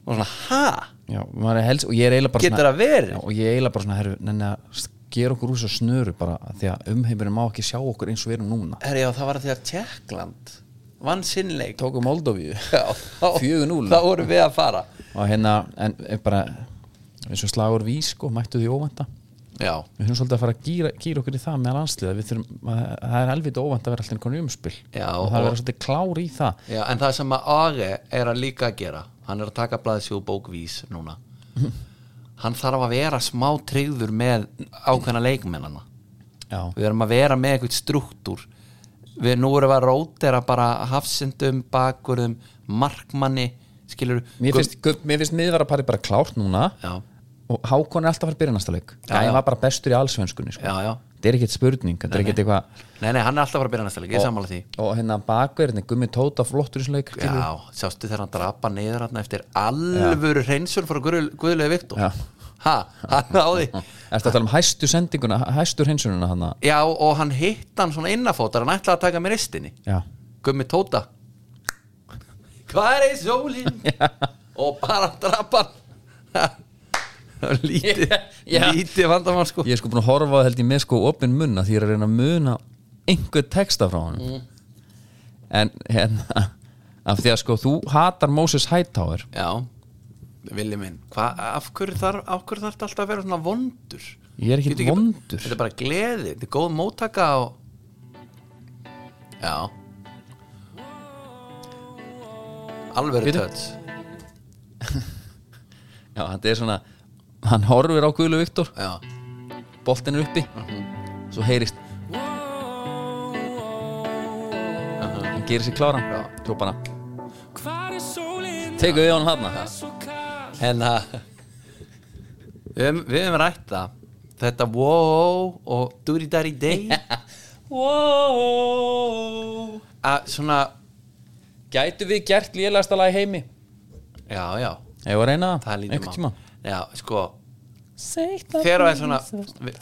B: svona ha
A: já, maður er helst og ég er eiginlega bara
B: Getur það verið?
A: já, og ég er eiginlega bara svona, herru, nenni að gera okkur úr þessu snöru bara af því að umheimurinn má ekki sjá okkur eins og við erum núna
B: herri já það var því að Tjekkland vann sinnleik
A: tóku Moldovíu
B: Já, þá-
A: 4-0.
B: þá vorum við að fara
A: og hérna, en er bara eins og slagur vís, sko, mættu því óvænta
B: já,
A: við höfum svolítið að fara að gýra, gýra okkur í það með landsliða, við þurfum, að, það er alveg óvænt að vera alltaf einhvern umspil og
B: Já,
A: það er að
B: og-
A: vera svolítið klár í það
B: já en það sem að Ari er að líka að gera hann er að taka blaðið sér úr bókvís núna hann þarf að vera smá tryggður með ákveðna leikmennana
A: já,
B: við erum að vera með eitthvað struktúr við nú erum við að rótera bara hafsendum, bakurðum markmanni, skilur
A: mér finnst, Guð- mér finnst miðvarapari bara klárt núna
B: já,
A: og Hákon er alltaf að fara að byrja næsta leik
B: Já, já.
A: það var bara bestur í allsvenskunni, sko
B: já, já
A: þetta er ekkert spurning, þetta er ekkert eitthvað
B: nei, nei, hann er alltaf að fara að byrja næsta leik, ég er sammála því
A: og hérna bakverðin, Gummi Tóta flottur í svona leik skilur við.
B: já, sástu þegar hann drapa niður hann eftir alvöru hreinsun frá Guðlega Viktor
A: Já.
B: ha, hann náði
A: Ertu að tala um hæstu sendinguna, hæstu hreinsununa hann
B: já, og hann hitt hann svona innafótar hann ætlaði að taka með ristinni
A: Já,
B: Gummi Tóta Hvar er sólin? og bara drapa hann lítið
A: Já.
B: lítið vandamál sko
A: ég er sko búin að horfa á það held ég með sko opinn munna því ég er að reyna að muna einhver texta frá hann en hérna af því að sko þú hatar Moses Hightower
B: Já, villi minn hva, af hverju þarf af hverju þarf þetta alltaf að vera svona vondur?
A: ég er ekkit
B: Getur ekki-
A: vondur
B: Þetta er bara gleði, þetta er góð móttaka og... Já Alvöru
A: Bíddu.
B: töts
A: já þetta er svona hann horfir á Guðlu Viktor
B: Já,
A: boltinn er uppi svo heyrist hann gerir sér kláran
B: Já.
A: svo bara tekur við honum hann
B: En að við höfum, við höfum rætt það Þetta wow og dúri dari day Wow Að svona,
A: gætu við gert lélagasta lag í heimi
B: já, já
A: ég var að reyna
B: Það
A: það
B: lítur
A: einhvern tíma
B: Já, sko Þegar þú ert svona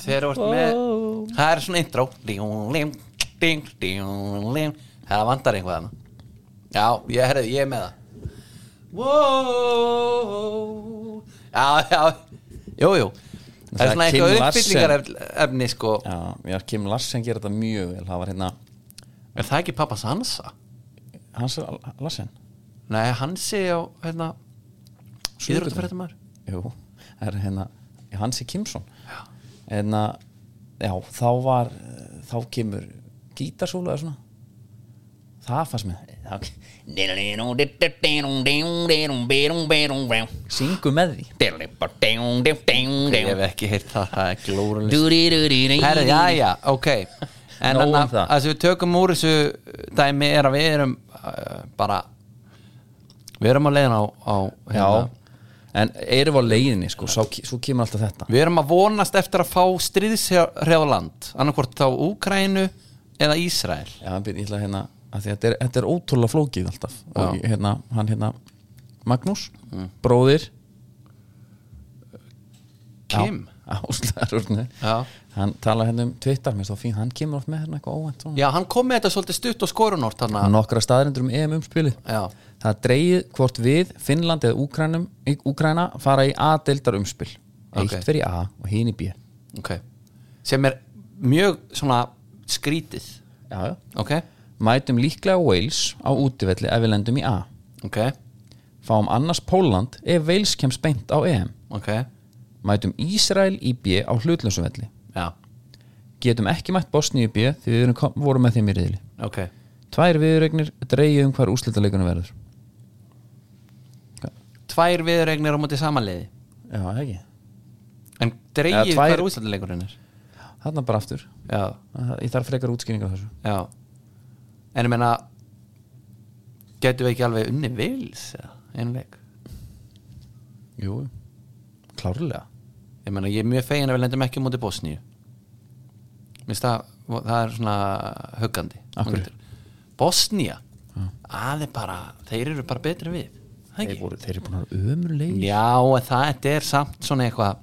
B: Þegar þú ert með Það er svona intro Ding, ling, ding, ding, ling. Það vantar einhvað hana Já, ég, herri, ég er með það Wow Já, já, jú, jú Það
A: Það
B: er
A: er Kim
B: svona eitthvað
A: Larsen.
B: uppfyllingarefni sko
A: Já, já, Kim Larsen gerir þetta mjög vel Það var hérna
B: Er það ekki pappas Hansa?
A: Hans Larsen
B: Nei, Hansi á hérna Íðrúttafréttumar
A: Jú, það er hérna Hansi Kimson Hérna, já, þá var eh, Þá kemur gítarsóla eða svona Það fannst mér það- Syngu með því
B: Ég hef ekki heyrt það, það er glórunlega Herri,
A: Herri,
B: já, já, ok En
A: Nóg um
B: að
A: það.
B: að sem við tökum úr þessu dæmi er að við erum uh, bara við erum að leiðin á, á hérna,
A: Já, en erum við á leiðinni sko, svo, svo kemur alltaf þetta
B: Við erum að vonast eftir að fá stríðshrjáð land annarkvort þá Úkrænu eða Ísrael
A: Já, hann byrja illa hérna að þetta er, þetta er ótrúlega flókið alltaf og ég- hérna, hann hérna
B: Mm.
A: Magnús, bróðir
B: Kim
A: já, Áslegarurnu
B: Já.
A: hann talar hérna um Twitter mér er þá fín, hann kemur oft með hérna eitthvað óvænt svona.
B: Já, hann kom með þetta svolítið stutt og skorunort hann að
A: nokkra staðrindur um EM umspilið
B: Já,
A: það er dreigið hvort við, Finnland eða Úkrænum, Úkræna fara í A-deildar umspil
B: Ok.
A: eitt fyrir A og hinn í B já,
B: ok Sem er mjög svona skrítið
A: já.
B: Ok,
A: mætum líklega Wales á útivelli ef við lendum í A
B: ok,
A: fáum annars Póland ef Wales kemst beint á E EM
B: ok
A: mætum Ísrael í B á hlutlösum velli
B: Já,
A: getum ekki mætt Bosni í B því við erum kom, vorum með þeim í riðli
B: ok
A: tvær viðregnir dreigið um hvar úrslitaleikunum verður
B: Tvær viðregnir á móti samanliði
A: já, ekki
B: En dreigið
A: Já, tvær-
B: hver úrstættileikurinn er
A: þarna bara aftur,
B: Já,
A: ég þarf frekar útskýringar á þessu
B: já En ég meina Getum við ekki alveg unni vils Einu leik
A: jú, klárlega
B: Ég meina, ég er mjög fegin að við lendum ekki á móti Bosníu Minnst það, það er svona huggandi
A: Af hverju?
B: Bosnía Það er bara, þeir eru bara betri en við Það
A: þeir,
B: ekki?
A: voru, þeir eru búin að ömurlegir
B: Já, en það þetta er samt svona eitthvað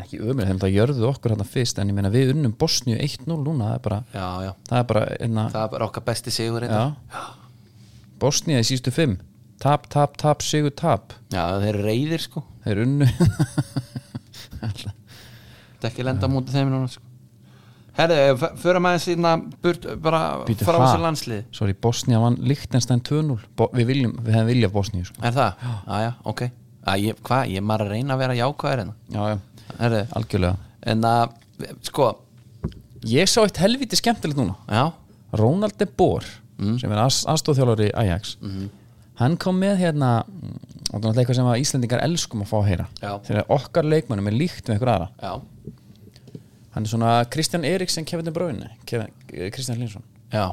A: ekki ömurlegir, þeim það jörðuð okkur hérna fyrst en ég meina við unnum Bosníu 1-0 núna það er bara,
B: Já, já,
A: það er bara einna,
B: það er bara okkar besti sigur hérna.
A: já.
B: þetta
A: Bosnía í sístu 5 tap, tap, tap, sigur, tap
B: já, þeir eru reyðir sko
A: þeir unnu
B: Þetta er ekki lenda á móti þeim núna sko Herðu, fyrir maður síðna hérna burt bara
A: Bíddu,
B: frá
A: ha?
B: þessu landslið
A: sorry, Bosnía vann Lichtenstein 2-0 Bo- við, viljum, við hefum viljað Bosníu sko.
B: Er það? Já, já, ok Æ, ég, Hvað, ég er maður að reyna að vera jákvæður hérna
A: já, já,
B: Herðu,
A: algjörlega
B: en að, sko,
A: ég sá eitt helviti skemmtilegt núna
B: já
A: Ronald de Boer sem er aðstóðþjálfari Ajax hann kom með hérna mm, og það er náttúrulega eitthvað sem að Íslendingar elskum að fá að heyra
B: Já.
A: þegar okkar leikmönnum er líkt með einhver aðra
B: Já,
A: hann er svona Kristján Eriksen Kevin De Bruyne Kevin, eh, Kristján Hlinsson
B: já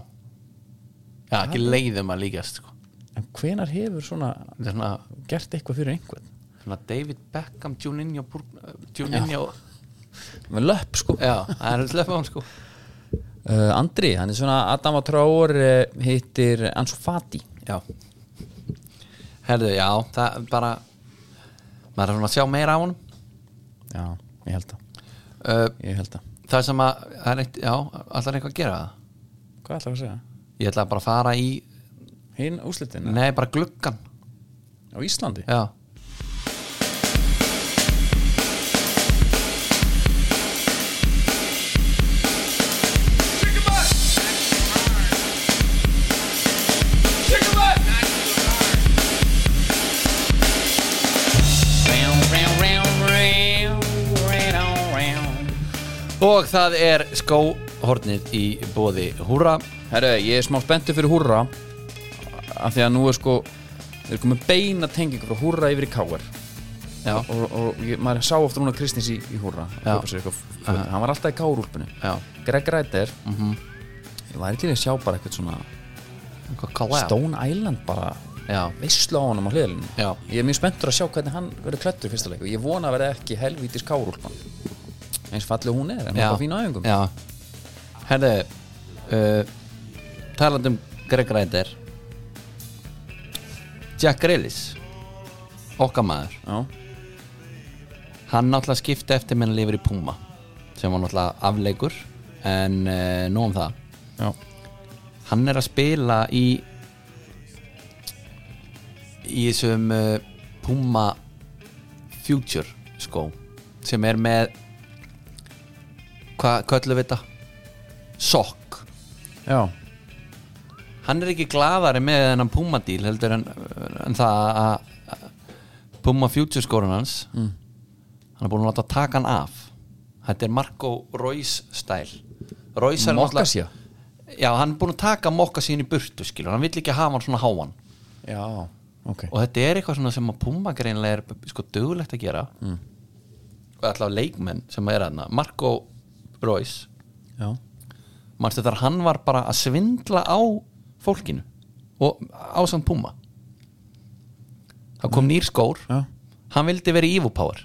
B: Já, ekki leiðum að líkast sko.
A: en hvenar hefur svona
B: Þetta er svona,
A: gert eitthvað fyrir einhvern
B: svona David Beckham, Juninho Bur- Juninho
A: með löpp sko
B: Já, það er sleppum hann sko
A: uh, Andri, hann er svona Adam Traor uh, hittir Ansu Fati
B: Já Herðu, já, það er bara maður er svona að sjá meira á hann
A: já, ég held það,
B: uh,
A: ég held það
B: Það sem að, það er eitt, já, allar eitthvað að gera það
A: hvað ætlar að segja?
B: Ég ætla bara að fara í,
A: hinn úslitin
B: nei, bara gluggan
A: á Íslandi
B: Já Og það er skóhornið í bóði Húra
A: Herru, ég er smá spenntu fyrir húrra af því að nú er sko við erum komið beina tengingu frá húrra yfir í káar
B: Já,
A: og, og ég, maður sá ofta núna Kristins í, í húrra
B: Já.
A: hann var alltaf í kárúlpunni
B: já,
A: Greg Ræder ég væri til að sjá bara eitthvað svona
B: eitthvað collab
A: Stone Island bara
B: Já,
A: veislu á honum á hliðalinu
B: Já.
A: ég er mjög spenntur að sjá hvernig hann verður klættur í fyrsta leik og ég vona að verða ekki helvítis kárúlpan eins falleg hún er, en hún er
B: já
A: bara fína æfingum
B: Já Herðu uh, Talandi um Greg Ryder Jack Grealis Okkar maður
A: Já.
B: Hann náttúrulega skipti eftir menn lifir í Puma sem var náttúrulega afleikur en uh, nú um það
A: Já.
B: Hann er að spila í í þessum uh, Puma Future skó sem er með hvað köllum við þetta? Sokk
A: Já.
B: Hann er ekki gladari með þennan Puma díl heldur en, en það að að Puma Future skórun hans hann er búin að láta taka hann af Þetta er Marco Reus stæl Reus er náttúrulega-
A: Mokkasia?
B: Já, hann er búin að taka mokka sín í burtu skilur, hann vill ekki hafa hann svona háan
A: Já, ok
B: og þetta er eitthvað svona sem að Puma greinlega er sko dögulegt að gera mm. og allavega leikmenn sem er aðna Marco Reus
A: Já.
B: manstu þar hann var bara að svindla á fólkinu og á samt Puma það kom nýr skór
A: Já.
B: hann vildi vera í Evo Power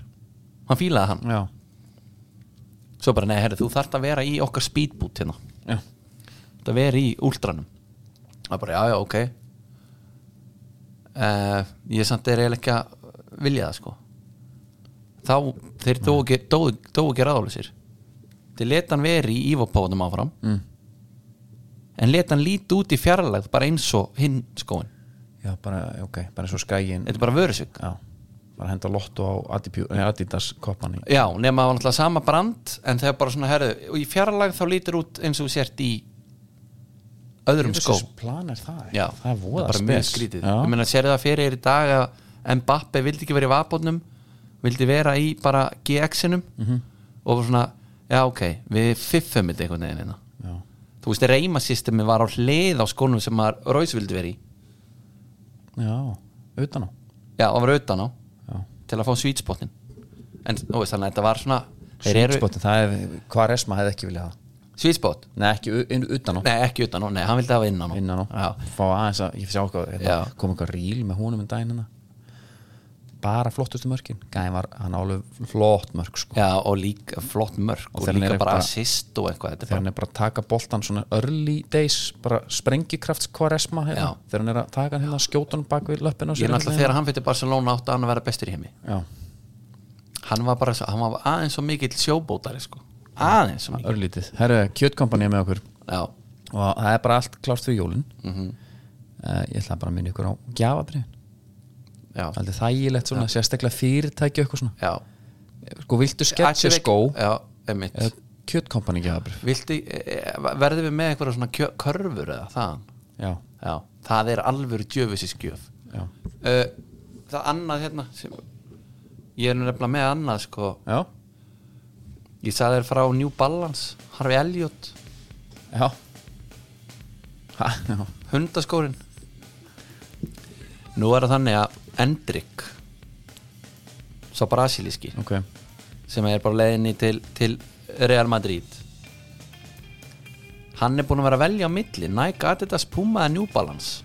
B: hann fílaði hann
A: Já.
B: svo bara nei, herri, þú þarft að vera í okkar speedboot hérna
A: Já.
B: þetta veri í últranum það er bara, já, já, ok Eh, uh, ég samt er eiginlega ekki að vilja það sko þá þeir dóu ekki, dóu, dóu ekki ráðlýsir þeir leta hann veri í ívapóðum áfram mm. en leta hann líti út í fjarlægð bara eins og hinn skóin
A: já, bara, ok, bara eins og skægin
B: þetta er bara vörusvík
A: já, bara henda lotto á Adipu- nei, Adidas koppan í
B: já, nema það var náttúrulega sama brand en þegar bara svona herðu, og í fjarlægð þá lítur út eins og þú sért í öðrum skó
A: Þessi plan er það, ekki?
B: já,
A: það er voða
B: bara mjög skrítið
A: já,
B: ég meina, sér það fyrir í dag að Mbappe vildi ekki vera í vapotnum vildi vera í bara GX-inum
A: Mhm.
B: og var svona, já ok við fiffum þetta einhvern veginn hérna
A: já,
B: þú veist, reymasystemi var á hlið á skónum sem maður Rauðs vildi vera í
A: já, utan á
B: já, og var utan á
A: Já.
B: til að fá svítspottin en þú veist, þannig að þetta var svona
A: Svítspotin, það er, hvað resma hefði ekki viljað það
B: svítspott,
A: nei, ekki u- inn- utan á
B: nei ekki utan á, nei, hann vildi hafa innan á
A: innan á,
B: já,
A: fá aðeins að ég sjá hvað, hérna,
B: Já.
A: kom eitthvað ríl með húnum en daginn hérna bara flottustu mörkin, gæði var hann á alveg flott mörk sko,
B: já, og líka flott mörk og,
A: þegar hann
B: líka
A: er
B: bara
A: bara-
B: assist og eitthvað þetta er
A: þegar hann er bara að taka boltan svona early days, bara sprengikraft hvað resma hérna,
B: Já.
A: þegar hann er að taka hann hérna skjótan bak við löppin á
B: Ég
A: sér hérna.
B: er náttúrulega þegar hann fyrir Barcelona átti hann að vera bestur í heimi
A: já,
B: Hann var bara svo, hann var aðeins svo mikill sjóbótari sko. Aðeins svo mikill
A: örlítið, herru, kjötkompanið er með okkur
B: Já,
A: og það er bara allt klárt fyrir jólin
B: Mhm.
A: uh, ég ætla bara að minna ykkur á gjafabrið,
B: já,
A: aldrei þægilegt svona, sérstaklega fyrirtæki og eitthvað svona
B: já
A: sko, viltu sketsa
B: Ætli við-
A: skó
B: Já, emitt
A: eða kjötkompanið gjafabrið
B: Viltu, eh, verðum við með einhverja svona kjö, körfur eða þaðan?
A: já,
B: Já, það er alvöru djöfisins gjöf
A: já,
B: uh, Það annað hérna sem, Ég er nú nefnilega með annað sko
A: já,
B: Ég sagði þér frá New Balance Harfi Elliot,
A: já. Ha, já.
B: hundaskórin Nú er það þannig að Endrik Sá brasilíski
A: ok
B: sem er bara á leiðinni til, til Real Madrid hann er búin að vera að velja á milli Nike, Adidas, Puma eða New Balance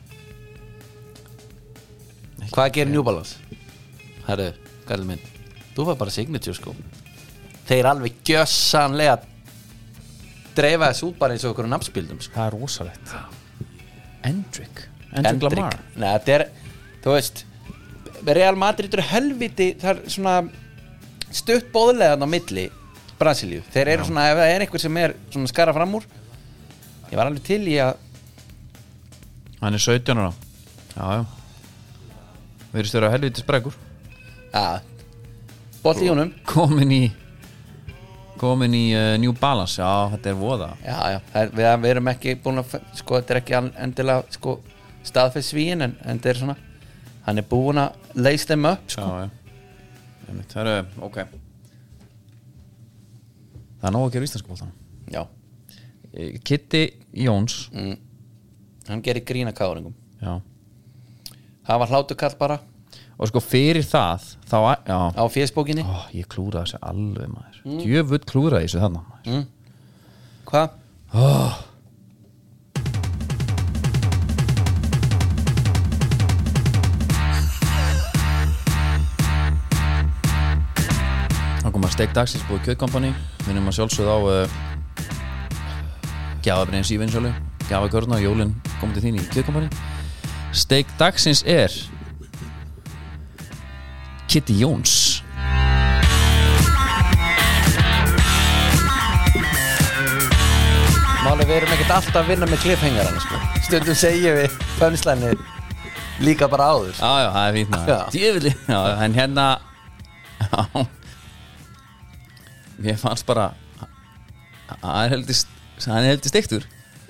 B: hvað gerir New Balance? herru, gæli minn þú var bara signature sko þeir alveg gjössanlega dreifa þessu út bara eins og okkur nafnspildum sko.
A: það er rosalegt Endrick, Endrick Lamar
B: Nei, þetta er, þú veist Real Madrid eru helviti það er svona stutt bóðlegan á milli Brasilíu þeir eru svona, ef það er einhver sem er svona skara fram úr ég var alveg til í að
A: hann er 17 ára já, já við erum stöður að helviti spregur
B: að bótt í honum
A: komin í komin í uh, New Balance já, þetta er voða
B: já, já, það er, við, við erum ekki búin að f- sko, þetta er ekki al- endilega sko, staðfess svíin en, en þetta er svona hann er búin að lace them up sko.
A: já, já Einmitt, það er, ok það er nóg að gera í íslenska bóltanum
B: já,
A: Kitty Jóns
B: mm. hann gerir grína káringum
A: já
B: það var hlátukall bara
A: og sko fyrir það þá, að- já
B: á fésbókinni
A: Ó, ég klúraði þessu alveg maður mm. Djöfull klúraði þessu þarna maður
B: mm. Hvað?
A: Þá kom að steik dagsins búið kjöðkompani Minnum að sjálfsögð á uh, Gjafabriðins í vinsölu Gjafakörna og jólin komið til þín í kjöðkompani Steik dagsins er Kitty Jóns
B: Máli, við erum ekkert alltaf að vinna með kliffhengarana sko. Stundum segjum við pönslæni líka bara áður
A: Já, já, það er fínt
B: Já.
A: maður Djöfulli Já, en hérna Já Mér fannst bara Það er heldur Það er heldur steiktur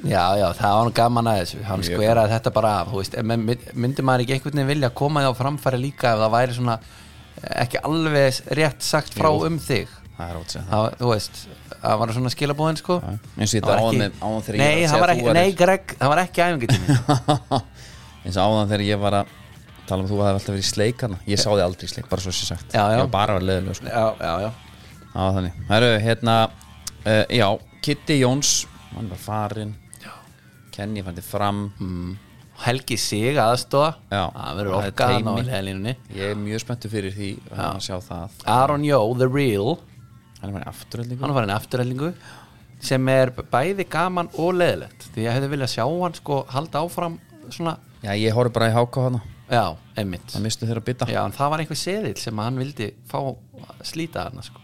B: Já, já, það var nú gaman að þessu Hann
A: Mjög
B: sko er að þetta bara af þú veist, en men- Myndi maður ekki einhvern veginn vilja koma því á framfæri líka ef það væri svona eh, ekki alveg rétt sagt frá
A: Jú.
B: um þig
A: Það er ótsið
B: það, Þú veist, það var svona skilabóðin sko
A: Já, eins og ég
B: Það var
A: þetta áðan
B: ekki-
A: með- áðan þegar ég var að
B: Nei, það
A: segja
B: var
A: að
B: ekki,
A: þú
B: nei,
A: værir-
B: Greg, það var ekki æfingatími
A: eins og áðan þegar ég var að tala um að þú hafði alltaf verið í sleik hana ég sá þig aldrei í sleik, bara svo sé sagt
B: Já, já.
A: ég var bara að vera leðilega sko.
B: Já, já, já
A: það var þannig, herru, hérna uh, já, Kitty Jóns hann var farinn, Kenny fændi fram
B: mm. Helgi Sig aðstóða
A: Já.
B: Það verður
A: Það er
B: orkaðan á
A: teimi.
B: helginunni
A: ég er mjög spenntu fyrir því að sjá það
B: Aron Jó, The Real
A: hann er bara afturöldingur
B: Hann var enn afturhellingu sem er bæði gaman og leðilegt því ég hefði viljað sjá hann sko halda áfram svona
A: já, ég horf bara í háka hana
B: já, einmitt
A: það mistu þeirra að bytta
B: já, en það var einhver seðil sem hann vildi fá slíta hana sko.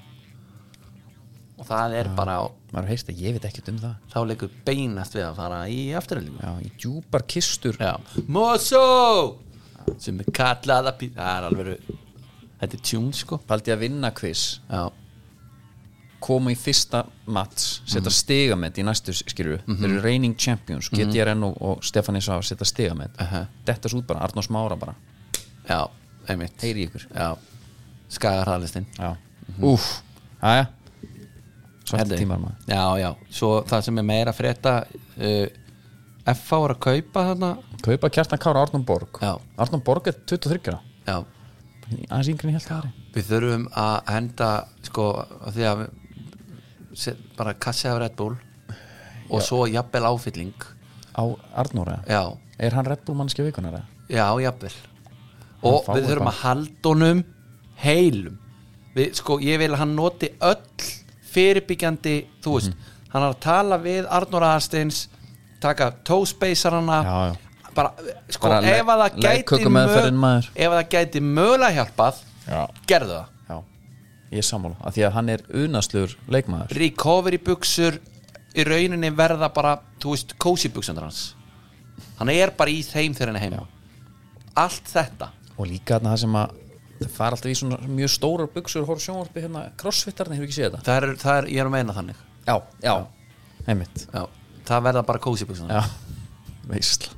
B: og það er bara
A: maður heist að ég veit ekkert um það
B: þá leikur beinast við að fara í afturhaldingu
A: já, í djúpar kistur
B: Já, Mosso sem er kallað að býta það er alveg þetta er tjún sko
A: paldi að vinna quiz
B: já,
A: koma í fyrsta mats setja
B: Mhm.
A: mm. stigamett í næstu skilju þeir eru reigning champions, GTRN og, og Stefán Sá setja stigamett uh
B: Mhm.
A: detta svo út bara, Arnós Mára bara
B: já, einmitt
A: heyri í ykkur
B: já, skagarhæðlistinn
A: já,
B: Mhm.
A: úff, aðja svartir
B: Herðu.
A: tímar maður
B: já, já, svo það sem er meira að frétta uh, FH er að kaupa þarna
A: kaupa kjartan Kára Arnón Borg
B: Já.
A: Arnón Borg er 23 ára
B: já,
A: aðeins yngri en ég held að það
B: við þurfum að henda sko, af því að við- set, bara kassi af Red Bull og svo jafnvel áfylling
A: á Arnóra,
B: já,
A: er hann Red Bull mannskja vikunar eða?
B: Já, jafnvel Og
A: fái
B: við þurfum
A: bara-
B: að halda honum heilum við, Sko, ég vil að hann noti öll fyrirbyggjandi, þú
A: Mhm.
B: veist Hann er að tala við Arnur Aðarsteins taka tóspeisarana
A: Já, já.
B: bara, sko,
A: Bara le-
B: ef að það gæti
A: leggkökumeðferðin, maður.
B: ef að það gæti mögulega hjálpað
A: Já.
B: gerðu það
A: já, ég er sammála af því að hann er unaslur leikmaður
B: recovery buksur í rauninni verða bara, þú veist, cozy buksundur hans hann er bara í þeim þegar hann er heima allt þetta
A: og líka þarna það sem að það fara alltaf í svona mjög stórar buksur hóru sjónvarpi hérna, crossfittarni hefur ekki séð þetta
B: það er, það er, ég er að meina þannig
A: já, já, heimitt
B: Já, það verða bara kósi buksunar
A: já, veistla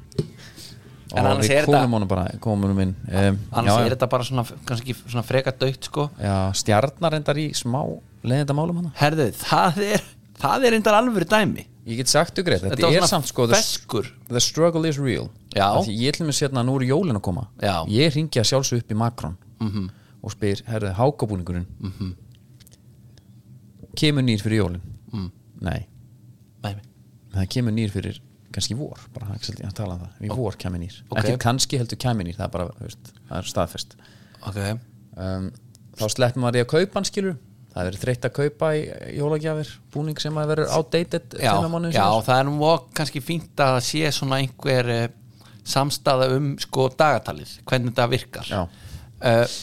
B: En
A: og
B: annars
A: við
B: er þetta-
A: komum honum bara komum honum inn um,
B: annars
A: já,
B: er þetta bara svona, kannski ekki svona freka dögt sko.
A: já, stjarnar endar í smá leðindamálum hana
B: herðu, það er það er reyndar alvöru dæmi
A: ég get sagt ykkur eitt, þetta,
B: var
A: er
B: svona
A: samt sko the,
B: feskur
A: the struggle is real
B: Já.
A: Af því ég til mér sérna nú eru jólin að koma
B: Já. Mhm.
A: ég ringja sjálfsög upp í Macron -hmm. og spyr, herðu, hákabúningurinn -hmm. kemur nýr fyrir jólin mm. nei,
B: Dæmi.
A: það kemur nýr fyrir kannski í vor, bara ekki svolítið að tala um það í vor kemur nýr,
B: Ok.
A: ekki kannski heldur kemur nýr það er bara, þú veist, það er staðfest
B: ok,
A: um, þá sleppum maður í að kaupa hann skilur það verður þreytt að kaupa í í jólagjafir búning sem að verður outdated
B: já,
A: tveimur mánuðum
B: já
A: síðar.
B: það er nú og kannski fínt að það sé svona einhver eh, samstaða um sko dagatalið, hvernig þetta virkar
A: Já.
B: Eh,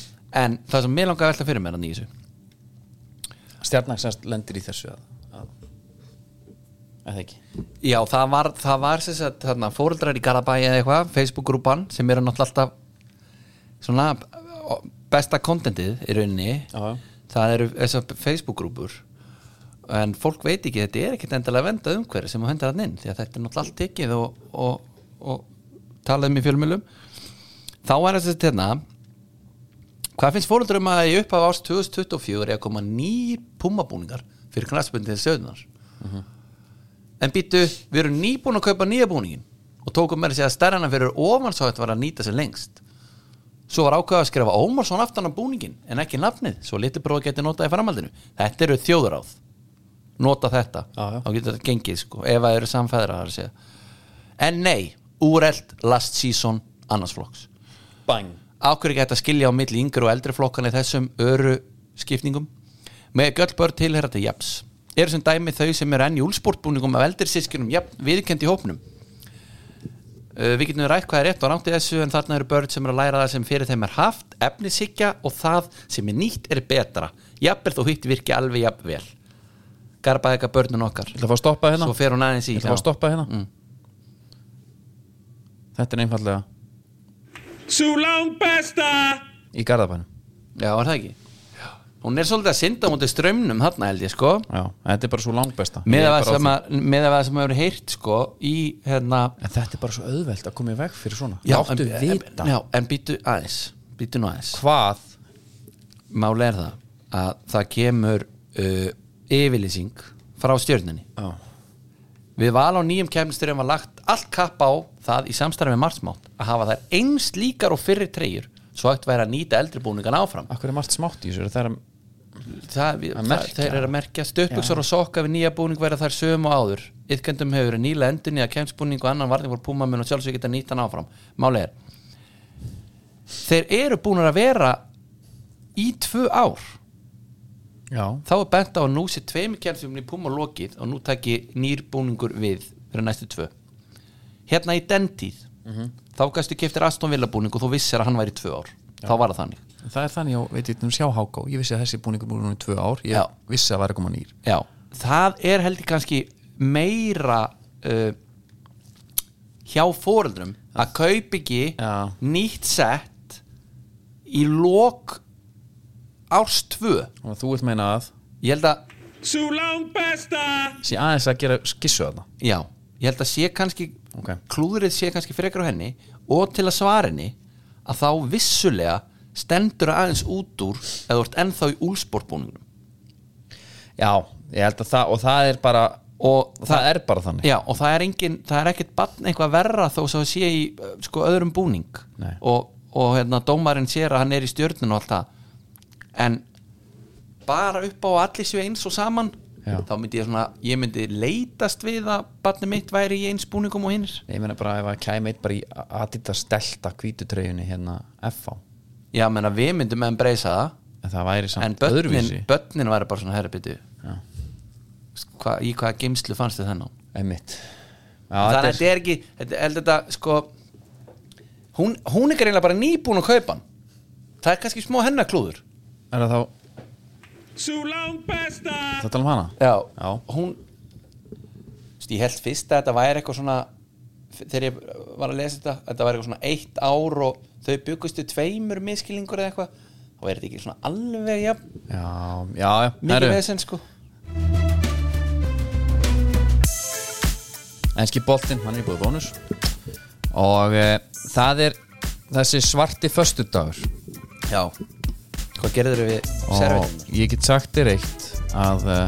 B: en það sem mér langar að velta fyrir mér að nýju
A: stjarnar semst lendir í þessu að, að, að ekki
B: já, það var, það var sem sagt, þarna, fóreldrar í Garabæi eða eitthvað, Facebook-grúpan sem eru náttúrulega alltaf svona besta kontentið í rauninni
A: Já.
B: það eru þessar Facebook-grúpur en fólk veit ekki þetta er ekkert endalega vendað umhverju sem þú hendur hann inn því að þetta er náttúrulega allt tekið og, og, og talað um í fjölmjölum þá er þess að hérna hvað finnst fóreldurum að í upphaf árs 2024 er að koma ný pumabúningar fyrir knastbundið söðunar en býttu, við erum nýbúin að kaupa nýja búningin og tókum með þess að stærna fyrir ofan svo þetta var að nýta sér lengst Svo var ákveða að skrifa Ómarsson aftan á búningin en ekki nafnið, svo litið bróð geti notað í framhaldinu. Þetta eru þjóðuráð nota þetta,
A: Já, já.
B: þá getur þetta gengið sko, ef það eru samfæðra að segja en nei, úrelt last season annars flokks
A: bang
B: ákveður ekki hægt að skilja á milli yngri og eldri flokkan í þessum öru skipningum með göll börn tilherra til jafns eru sem dæmi þau sem eru enn í úlsportbúningum af eldri sískinum jafn viðkend í hópnum uh, við getum rætt hvað er rétt og rámt í þessu en þarna eru börn sem eru að læra það sem fyrir þeim er haft efnishyggja og það sem er nýtt er betra jafnvel þó hitt virki alveg jafnvel garbaði eitthvað börnun okkar
A: Ætla að fá að stoppa hérna
B: svo fer hún aðeins í
A: Ætla að fá að
B: já. Mm.
A: stoppa hérna Þetta er einfallega
C: Sú langt besta!
A: í Garðabænum
B: já, er það ekki hún er svolítið að synda mútið strömmnum þarna held ég sko
A: Já, en þetta er bara svo langbesta
B: með
A: Ég er
B: að
A: bara á
B: það sem,
A: því.
B: að- miðað við það sem hefur heyrt sko í hérna
A: En þetta er bara svo auðvelt að koma í veg fyrir svona
B: já,
A: Láttu
B: en,
A: vita
B: en, já, en býtu aðeins býtu nú aðeins
A: hvað
B: máli er það að það kemur uh, yfirlýsing frá stjörninni
A: Já,
B: við val á nýjum kemsturum var lagt allt kapp á það í samstarfi með Marsmátt að hafa þær eins líkar og fyrri treyjur svo hægt væri að nýta eldri búningan áfram
A: akkur er margt smátt í þessu er Það er
B: það, við,
A: Að
B: það,
A: merkja.
B: þeir eru að merkja stöpuksar og sokka við nýja búning verða þær sögum og áður yfkendum hefur verið nýla endur nýja kemsbúning og annan varðin voru púmamun og sjálfsög geta nýtt hann áfram máli er þeir eru búin að vera í tvö ár
A: Já,
B: þá er bent á að nú sé tveimur kemstum í púma lokið og nú taki nýr búningur við fyrir næstu tvö hérna í den tíð
A: Mhm.
B: þá gæstu keftir Aston Villa búning og þú vissir að hann væri tvö ár þá var það þannig
A: það er þannig á, veit ég, um sjá háká ég vissi að þessi búningur búið núna í tvö ár ég
B: Já.
A: vissi að væri að koma nýr
B: Já, það er heldur kannski meira uh, hjá foreldrum að kaup ekki
A: Já.
B: nýtt sett í lok árs tvö
A: og þú vilt meina að
B: ég held að,
C: Sú langt besta!
A: sé aðeins að gera skissu að
B: já, ég held að sé kannski
A: Ok.
B: klúðrið sé kannski frekar á henni og til að svara henni að þá vissulega stendur aðeins út úr eða þú ert ennþá í úlsportbúningunum
A: já, ég held að það og það er bara,
B: og
A: það, er bara þannig
B: Já, og það er, engin, það er ekkert bann eitthvað verra þó svo að sé í uh, sko, öðrum búning
A: Nei.
B: og, og hérna, dómarinn sér að hann er í stjörnun og allt það en bara upp á að allir séu eins og saman
A: Já.
B: þá myndi ég svona, ég myndi leitast við að barnið mitt væri í eins búningum og hinnir
A: ég meina bara ef að kæmi eitt bara í Adidas Delta hvítutreyjunni hérna FH
B: Já, menna við myndum meðan breysa það
A: en það væri
B: en
A: samt öðruvísi
B: börnin, börnin væri bara svona herrbyttu Hva, í hvaða geimslu fannst þið þennan?
A: einmitt já,
B: þannig
A: þetta
B: að þetta er ekki þetta, held þetta sko hún, hún er greinlega bara nýbúin að kaupa hann það er kannski smó hennaklúður
A: er það þá,
C: Sú langt besta!
A: það tala um hana
B: já,
A: Já.
B: hún Vist, ég held fyrst að þetta væri eitthvað svona þegar ég var að lesa þetta að þetta væri eitthvað svona eitt ár og þau byggustu tveimur miskilingur eða eitthvað þá er þetta ekki svona alveg ja,
A: já, já, já,
B: mikið
A: herru,
B: vesen sko
A: enski boltinn, hann er í búið bónus og e, það er þessi svarti föstudagur
B: já, hvað gerður við
A: og
B: servetinn?
A: ég get sagt þér eitt að e,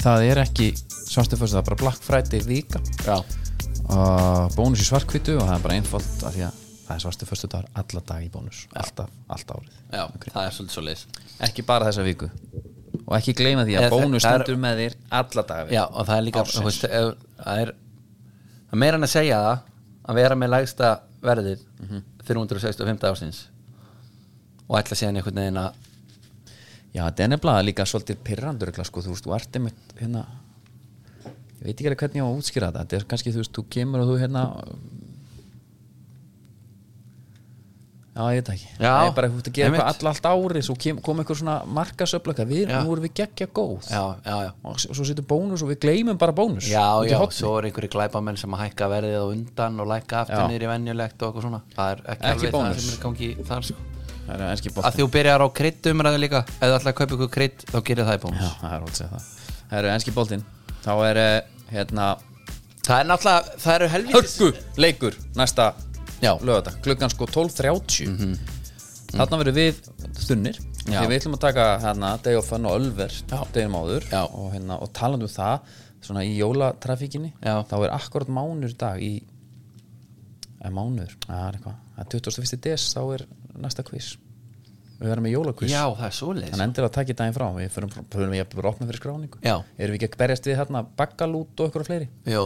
A: það er ekki svarti föstudag, það er bara Black Friday vika
B: já,
A: og Eh, bónus í svartkvítu og það er bara einfalt af því að það er svarti föstudagur alla dag í bónus, alltaf, allt árið
B: já það er svolítið svo leys
A: ekki bara þessa viku og ekki gleyma því að
B: Eða,
A: bónus
B: það er-
A: stendur með þér alla daga
B: Já, og það er líka
A: Ársins.
B: þú veist, ef, það, er, það er meira en að segja það að vera með lægsta verðið
A: Mhm.
B: 365 ásins og ætla síðan einhvern veginn að
A: Já, þetta er nefnilega líka svolítið pirrandur sko, þú veist, þú ert einmitt hérna ég veit ekki alveg hvernig ég á að útskýra þetta þetta er kannski, þú veist, þú kemur og þú hérna Já, ég veit það ekki
B: Já,
A: Það er bara, þú veist að gera
B: einmitt.
A: eitthvað all, allt árið svo kem, kom eitthvað svona markasöflöka við,
B: Já.
A: nú erum við geggja góð
B: Já, já, já
A: og s- svo setur bónus og við gleymum bara bónus
B: Já,
A: út í
B: já,
A: horni.
B: svo er einhverju glæpamenn sem að hækka verðið á undan og lækka aftur
A: Já.
B: niður í venjulegt og eitthvað svona Það er ekki,
A: Ekki
B: alveg
A: bónus.
B: það sem er í gangi þar sko
A: Það er enski
B: Að
A: boltinn
B: því þú byrjar á krydd umræðu líka ef þú ætla að kaupa ykkur krydd þá gerir það í bónus
A: Já, það er hótt að segja það Það eru enski boltinn Þá er, eh, hérna,
B: Það er náttúrulega, það eru helvítis
A: hörgu leikur næsta
B: Já. Mhm.
A: lögata klukkan sko 12.30 þarna verður við þunnir
B: Já.
A: því við ætlum að taka hérna Day of Fun og Ölver deginum áður
B: Já.
A: og, hérna, og talandi um það svona í jólatrafíkinni
B: Já.
A: þá er akkurat mánur dag í eða mánur, það er eitthvað Það er 21. des þá er næsta quiz við verðum með jólakviss
B: Já, það er svoleiðis
A: Þannig endilega takk í daginn frá, við förum, förum við að opna fyrir skráningu
B: Já.
A: Erum við ekki að berjast við hérna baggalút og ykkur og fleiri?
B: Jó,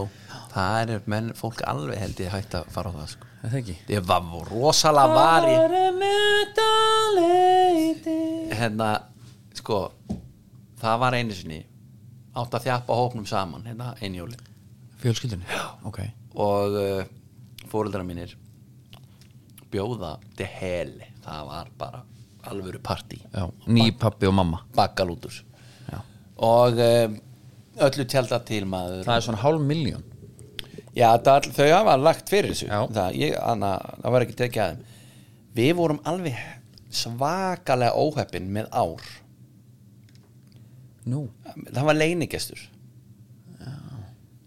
B: það er menn, fólk alveg held ég hægt að fara á það sko.
A: Er Það ekki
B: Ég var rosalega vari
A: Bara
B: Hérna, sko Það var einu sinni Átt að þjappa hópnum saman, hérna, einjóli
A: Fjölskyldunni? Já Ok
B: Og uh, fóreldrar mínir Bjóða til heli Það var bara alvöru partí
A: Já, ný pappi og mamma
B: Bakkalútur
A: Já.
B: Og uh, öllu tjálta til maður
A: Það er svona hálf miljón
B: Já, það, all- þau hafa lagt fyrir þessu
A: Já.
B: það, ég, anna, það var ekki tekið að þeim Við vorum alveg svakalega óheppin með ár
A: Nú
B: Það var leinigestur Já.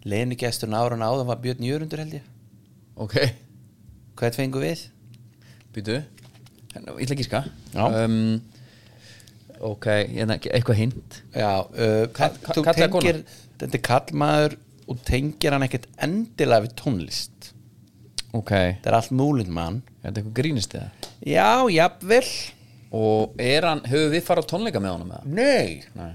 B: Leinigesturinn árun áður var Björn Jörundur held ég
A: Ok
B: Hvað fengum við?
A: Býtu Hérna, Ég ætla ekki ská
B: Já.
A: um, Ok, hérna, eitthvað hint
B: Já, uh,
A: Ka-
B: þú
A: ka- kallaði
B: tengir, Þetta er kallmaður og tengir hann ekkert endilega við tónlist
A: Ok Er
B: Þetta er allt múlinn mann
A: þetta eitthvað grínist eða?
B: Já, jafnvel
A: Og er hann, höfum við farað á tónleika með honum eða?
B: Nei,
A: Nei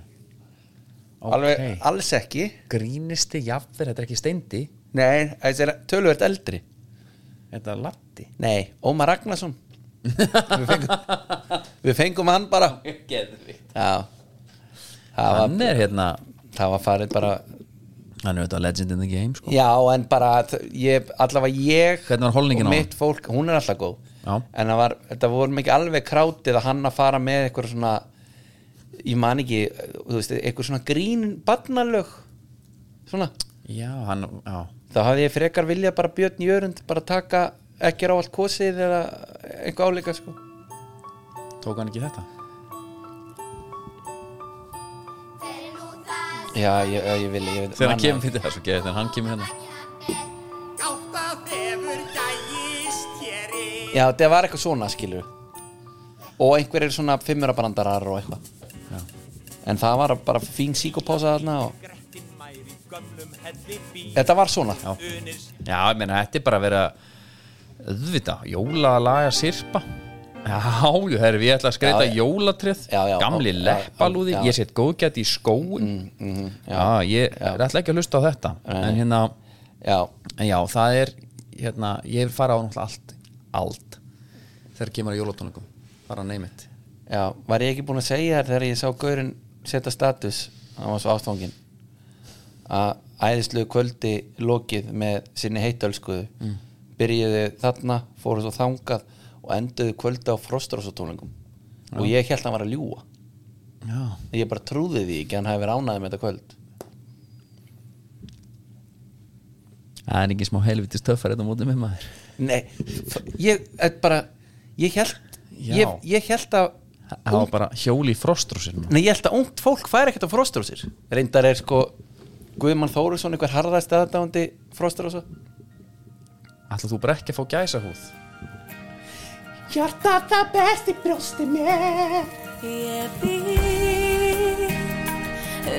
B: alveg,
A: Ok.
B: alls ekki
A: Grínisti jafnver, þetta er ekki steindi
B: Nei, þessi er töluvert eldri
A: Þetta er latti
B: Nei, Ómar Ragnarsson við, fengum, við fengum hann bara
A: Geðvikt
B: Já Það var,
A: Hann er hérna
B: það var farið bara
A: hann er auðvitað legend in the game sko.
B: Já, en bara að ég, allavega ég
A: Hvernig var holningin á
B: og
A: hann?
B: mitt fólk, hún er alltaf góð
A: Já.
B: en það var, þetta vorum ekki alveg krátið að hann að fara með eitthvað svona ég man ekki, þú veist, eitthvað svona grín barnalög svona,
A: já, hann, já,
B: þá hafði ég frekar viljað bara Björn Jörund bara taka ekki á allt kosið eða eitthvað áleika sko
A: tók hann ekki þetta
B: Já, ég, ég vil, ég vil
A: þegar hann kemur fyrir þessu geði, þegar hann kemur hérna
D: Gáttað hefur gægist hér í
B: Já, það var eitthvað svona skilur og einhver er svona fimmurabrandarar og eitthvað en það var bara fín síkopása þarna og
D: Grettin mær í gömlum helli bí
B: þetta var svona
A: Já.
D: Unir
A: já, ég meina, þetta er bara að vera auðvitað, jólalaga sirpa já, jú, herri, ég ætla að skreita
B: Já, já.
A: jólatrið
B: Já, já,
A: gamli
B: já, já,
A: leppalúði,
B: já.
A: ég set góðgætt í skóin Mm,
B: Mm,
A: já, ég er ætla ekki að hlusta á þetta en hérna,
B: Já,
A: en já, það er hérna, ég vil fara á náttúrulega allt allt, þegar kemur að jólatónleikum bara neymit
B: já, var ég ekki búin að segja þér þegar ég sá Gaurin setja status hann var svo ástfangin að æðislu kvöldi lokið með sinni heitölskuðu
A: Mm.
B: byrjuðu þarna, fóru svo þangað og enduðu kvöldi á frostrósatónlingum og ég held að hann var að ljúga
A: já,
B: ég bara trúði því ekki að hann hafi verið ánæði með þetta kvöld
A: það er ekki smá hérna helviti stöffar þetta mótið með maður
B: Nei, f- ég eh, bara ég held
A: Já.
B: ég, ég held að
A: það var bara hjóli í frostrúsinu
B: Nei, ég held að ungt fólk fær ekkert á frostrúsir Reyndar er sko Guðmann Þóruðsson einhver harðast aðdáðandi frostrúsa
A: ætla þú bara ekki að fá gæsa húð
E: Hjarta það best í brjósti mér
F: Ég býð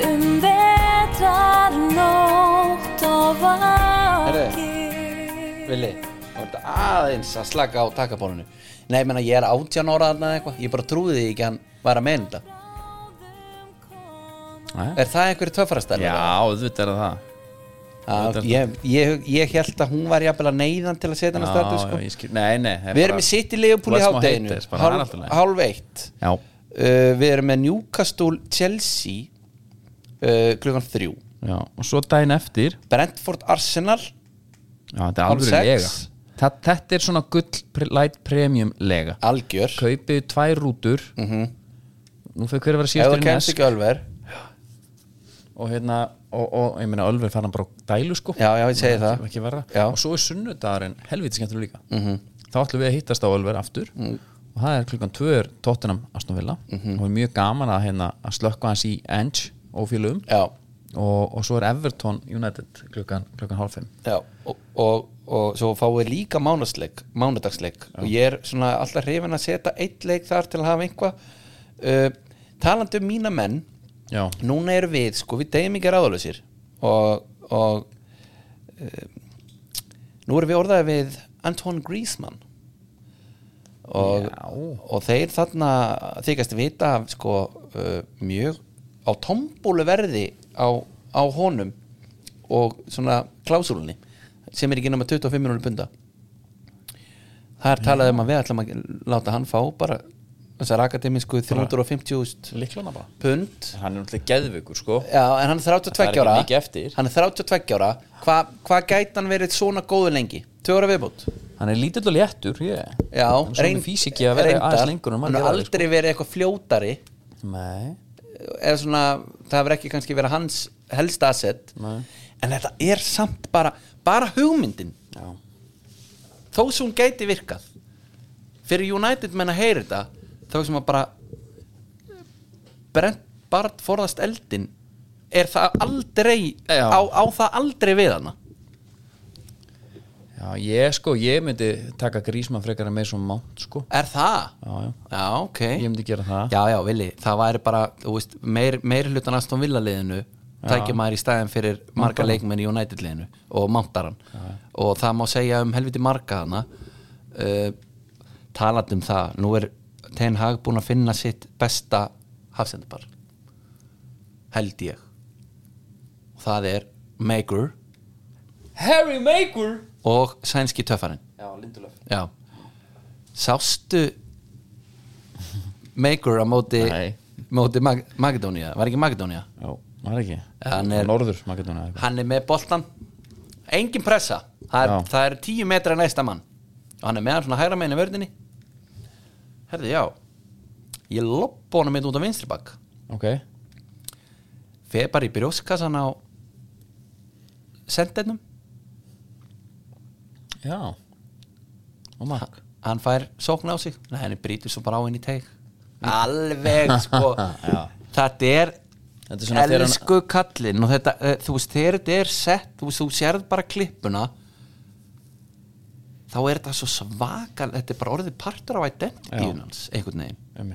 F: um vetrar nótt og vakir
B: Vili, þá ertu aðeins að slaka á takabólinu Nei, ég menna, ég er átján ára þarna eða eitthvað Ég bara trúði því ekki að hann var að meina þetta Er það einhverju töffarastar?
A: já, auðvitað er það auðvitað er
B: ég, ég, ég held að hún var jafnvel að neyðan til að setja hann að
A: já,
B: startu sko.
A: já, ég skil, nei, nei það er
B: Við erum
A: bara-
B: í City Leopold í
A: Þú ert smá
B: hátteginu
A: haters, bara, það er
B: hálf,
A: allt í lagi.
B: hálf eitt
A: já,
B: uh, Við erum með Newcastle Chelsea uh, klukkan þrjú
A: já, og svo daginn eftir
B: Brentford Arsenal
A: já, þetta er
B: Hálf
A: alveg
B: sex.
A: lega Þa- þetta er svona gull pre- light premium lega
B: algjör
A: kaupið tvær rútur nú fyrir hver að vera
B: Mhm. ef
A: síðastur
B: þú
A: í
B: kemst
A: næsk
B: ekki ölver
A: og hérna, og, og ég meina Ölver fann hann bara á dælu sko
B: Já, já, ég segi
A: Ekki-
B: það.
A: ekki verra.
B: Já. Mhm.
A: og svo er sunnudagurinn helviti skemmtilega líka -hmm. þá ætlum við að hittast á Ölver aftur
B: Mm.
A: og það er klukkan 2 er Tottenham Aston Villa
B: Mhm.
A: og er mjög gaman að, hérna, að slökka hans í Enge og félugum
B: já,
A: og, og svo er Everton United klukkan, klukkan hálf 5
B: já. Og, og, og svo fáum við líka mánudagsleik, mánudagsleik. og ég er svona alltaf hrifin að setja eitt leik þar til að hafa einhvað uh, talandi um mína menn
A: já,
B: núna erum við, sko, við deyjum ekki ráðalösir og, og uh, nú erum við orðaði við Anton Griezmann og, og þeir þarna þykast vita af, sko, uh, mjög á tombúlu verði á, á honum og svona klásúlunni sem er ekki nema 25 minúli punda það er talað um að við ætlum að láta hann fá bara þessar akademísku 350.000
A: líklana bara
B: pund
A: hann er náttúrulega geðvökur sko
B: Já, en hann er 32 ára
A: Það er ekki mikið eftir.
B: Hann er 32 ára Hva- Hvað gæti hann verið svona góðu lengi? Tvö ára viðbútt
A: hann er lítill og léttur ég.
B: Já,
A: hann er svona físiki að vera aðeins lengur en sko.
B: Hann
A: maður gera
B: er
A: það,
B: aldrei verið eitthvað fljótari
A: sko. nei,
B: Eða svona, það hefur ekki kannski verið hans helsta asset
A: Nei.
B: En þetta er samt bara Bara hugmyndin
A: já,
B: Þó sem hún gæti virkað Fyrir United menn að heyri þetta Þá sem að bara Brent Bart forðast eldin Er það aldrei
A: Já.
B: á, á það aldrei við hana
A: já, ég sko ég myndi taka grísmann frekar að með svo mánt sko
B: Er það?
A: já, já,
B: Já, ok
A: ég myndi gera það
B: Já, já, villi, það væri bara þú veist, meir, meir hlutan Aston Villa liðinu tækja maður í stæðin fyrir marga leikmenn í United liðinu og Mountaran og það má segja um helviti marga hana uh, talandi um það, nú er Ten Hag búin að finna sitt besta hafsendabal held ég og það er Maker
A: Harry Maker
B: og sænski töffarinn
A: Já, Lindelöf
B: Já Sástu Maker á móti,
A: Nei.
B: móti Mag Magadónia Var ekki Magadónia?
A: Já, var ekki
B: Hann er-
A: Norður, maður getur hann
B: hann er með boltan engin pressa, það er,
A: Já.
B: það er tíu metra næsta mann og hann er með hann svona hægra meginn í vörðinni herði já ég loppa honum mitt út á vinstri bak
A: Ok,
B: fer bara í brjóskassan á sendinum
A: já Og mark
B: hann fær sókn á sig Nei, henni brýtur svo bara á inn í teig alveg sko
A: Já.
B: þetta er
A: Þetta er svona þegar hann-
B: elsku kallinn og þetta, eh, þú veist, þegar þetta er sett þú veist, þú sérð bara klippuna þá er þetta svo svakal þetta er bara orðið partur af
A: Já.
B: identitíun hans einhvern veginn
A: um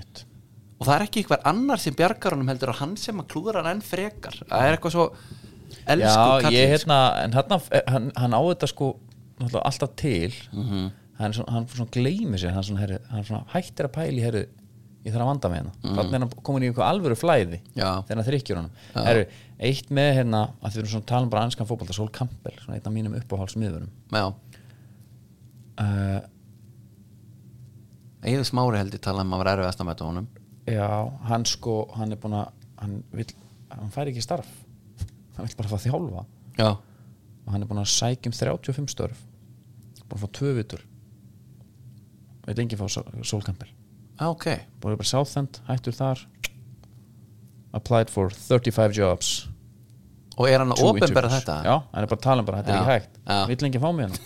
B: og það er ekki einhver annar sem bjargar honum heldur að hann sem að klúðra hann enn frekar það er eitthvað svo
A: Já,
B: elsku kallinn
A: ég
B: sko.
A: hérna, en hérna hann, hann á þetta sko náttúrulega alltaf til hann, er svona, hann svona gleymi sér hann, svona, herri, hann svona hættir að pæli herri, ég þarf að vanda með hérna þannig er hann komin í eitthvað alvöru flæði
B: Já.
A: þegar hann þrykkjur honum herri, eitt með hérna, að því við erum svona að tala um bara anskan fótbolta Sol Campbell, svona einn af mínum uppáhaldsmiðurum
B: Já
A: uh,
B: Eða smári heldur tala um að vera erfiðast að mæta honum
A: Já, hann sko, hann er búin að hann, vill, hann fær ekki starf hann vill bara fá þjálfa
B: Já
A: og hann er búin að sækja um 35 störf búin að fá tvö vitur vill enginn fá sólkampel
B: Ah, Ok
A: búin að bara Southend, hættur þar applied for 35 jobs
B: Og er hann að
A: two
B: ofinbera
A: interviews.
B: þetta?
A: Já, hann er bara að tala um bara, þetta
B: Já,
A: er ekki hægt
B: já.
A: vill enginn fá mig hann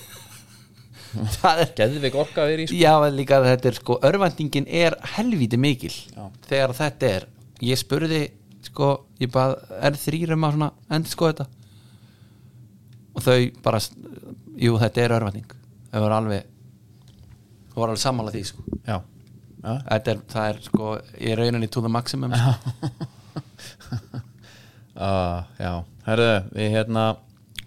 B: Það er
A: Geðvik orka verið í sko
B: Já, en líka þetta er sko, örvendingin er helvíti mikil
A: Já.
B: þegar þetta er ég spurði, sko, ég bað er þrýrum að svona endur sko þetta og þau bara jú, þetta er örvending þau voru alveg þau voru alveg sammála því, sko
A: Já, já.
B: þetta er, það er sko, ég er rauninni to the maximum sko.
A: Uh, já. herðu, við hérna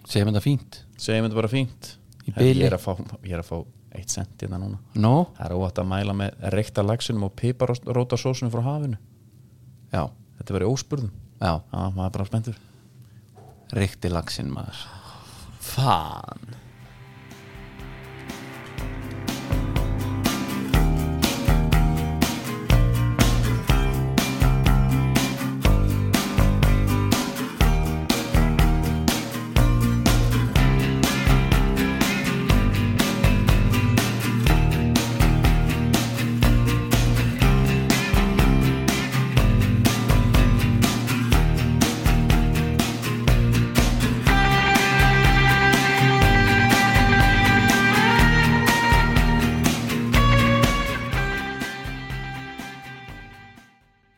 B: segjum þetta fínt
A: segjum þetta bara fínt
B: Í
A: Herðu,
B: bili.
A: ég, er að fá, ég er að fá eitt sent hérna núna
B: no?
A: Það er óvægt að mæla með reykta laxinum og piparóta sósunum frá hafinu
B: já,
A: Þetta verið óspurðum
B: já,
A: Já, maður er bara spenntur
B: rikti laxinn maður
A: Fan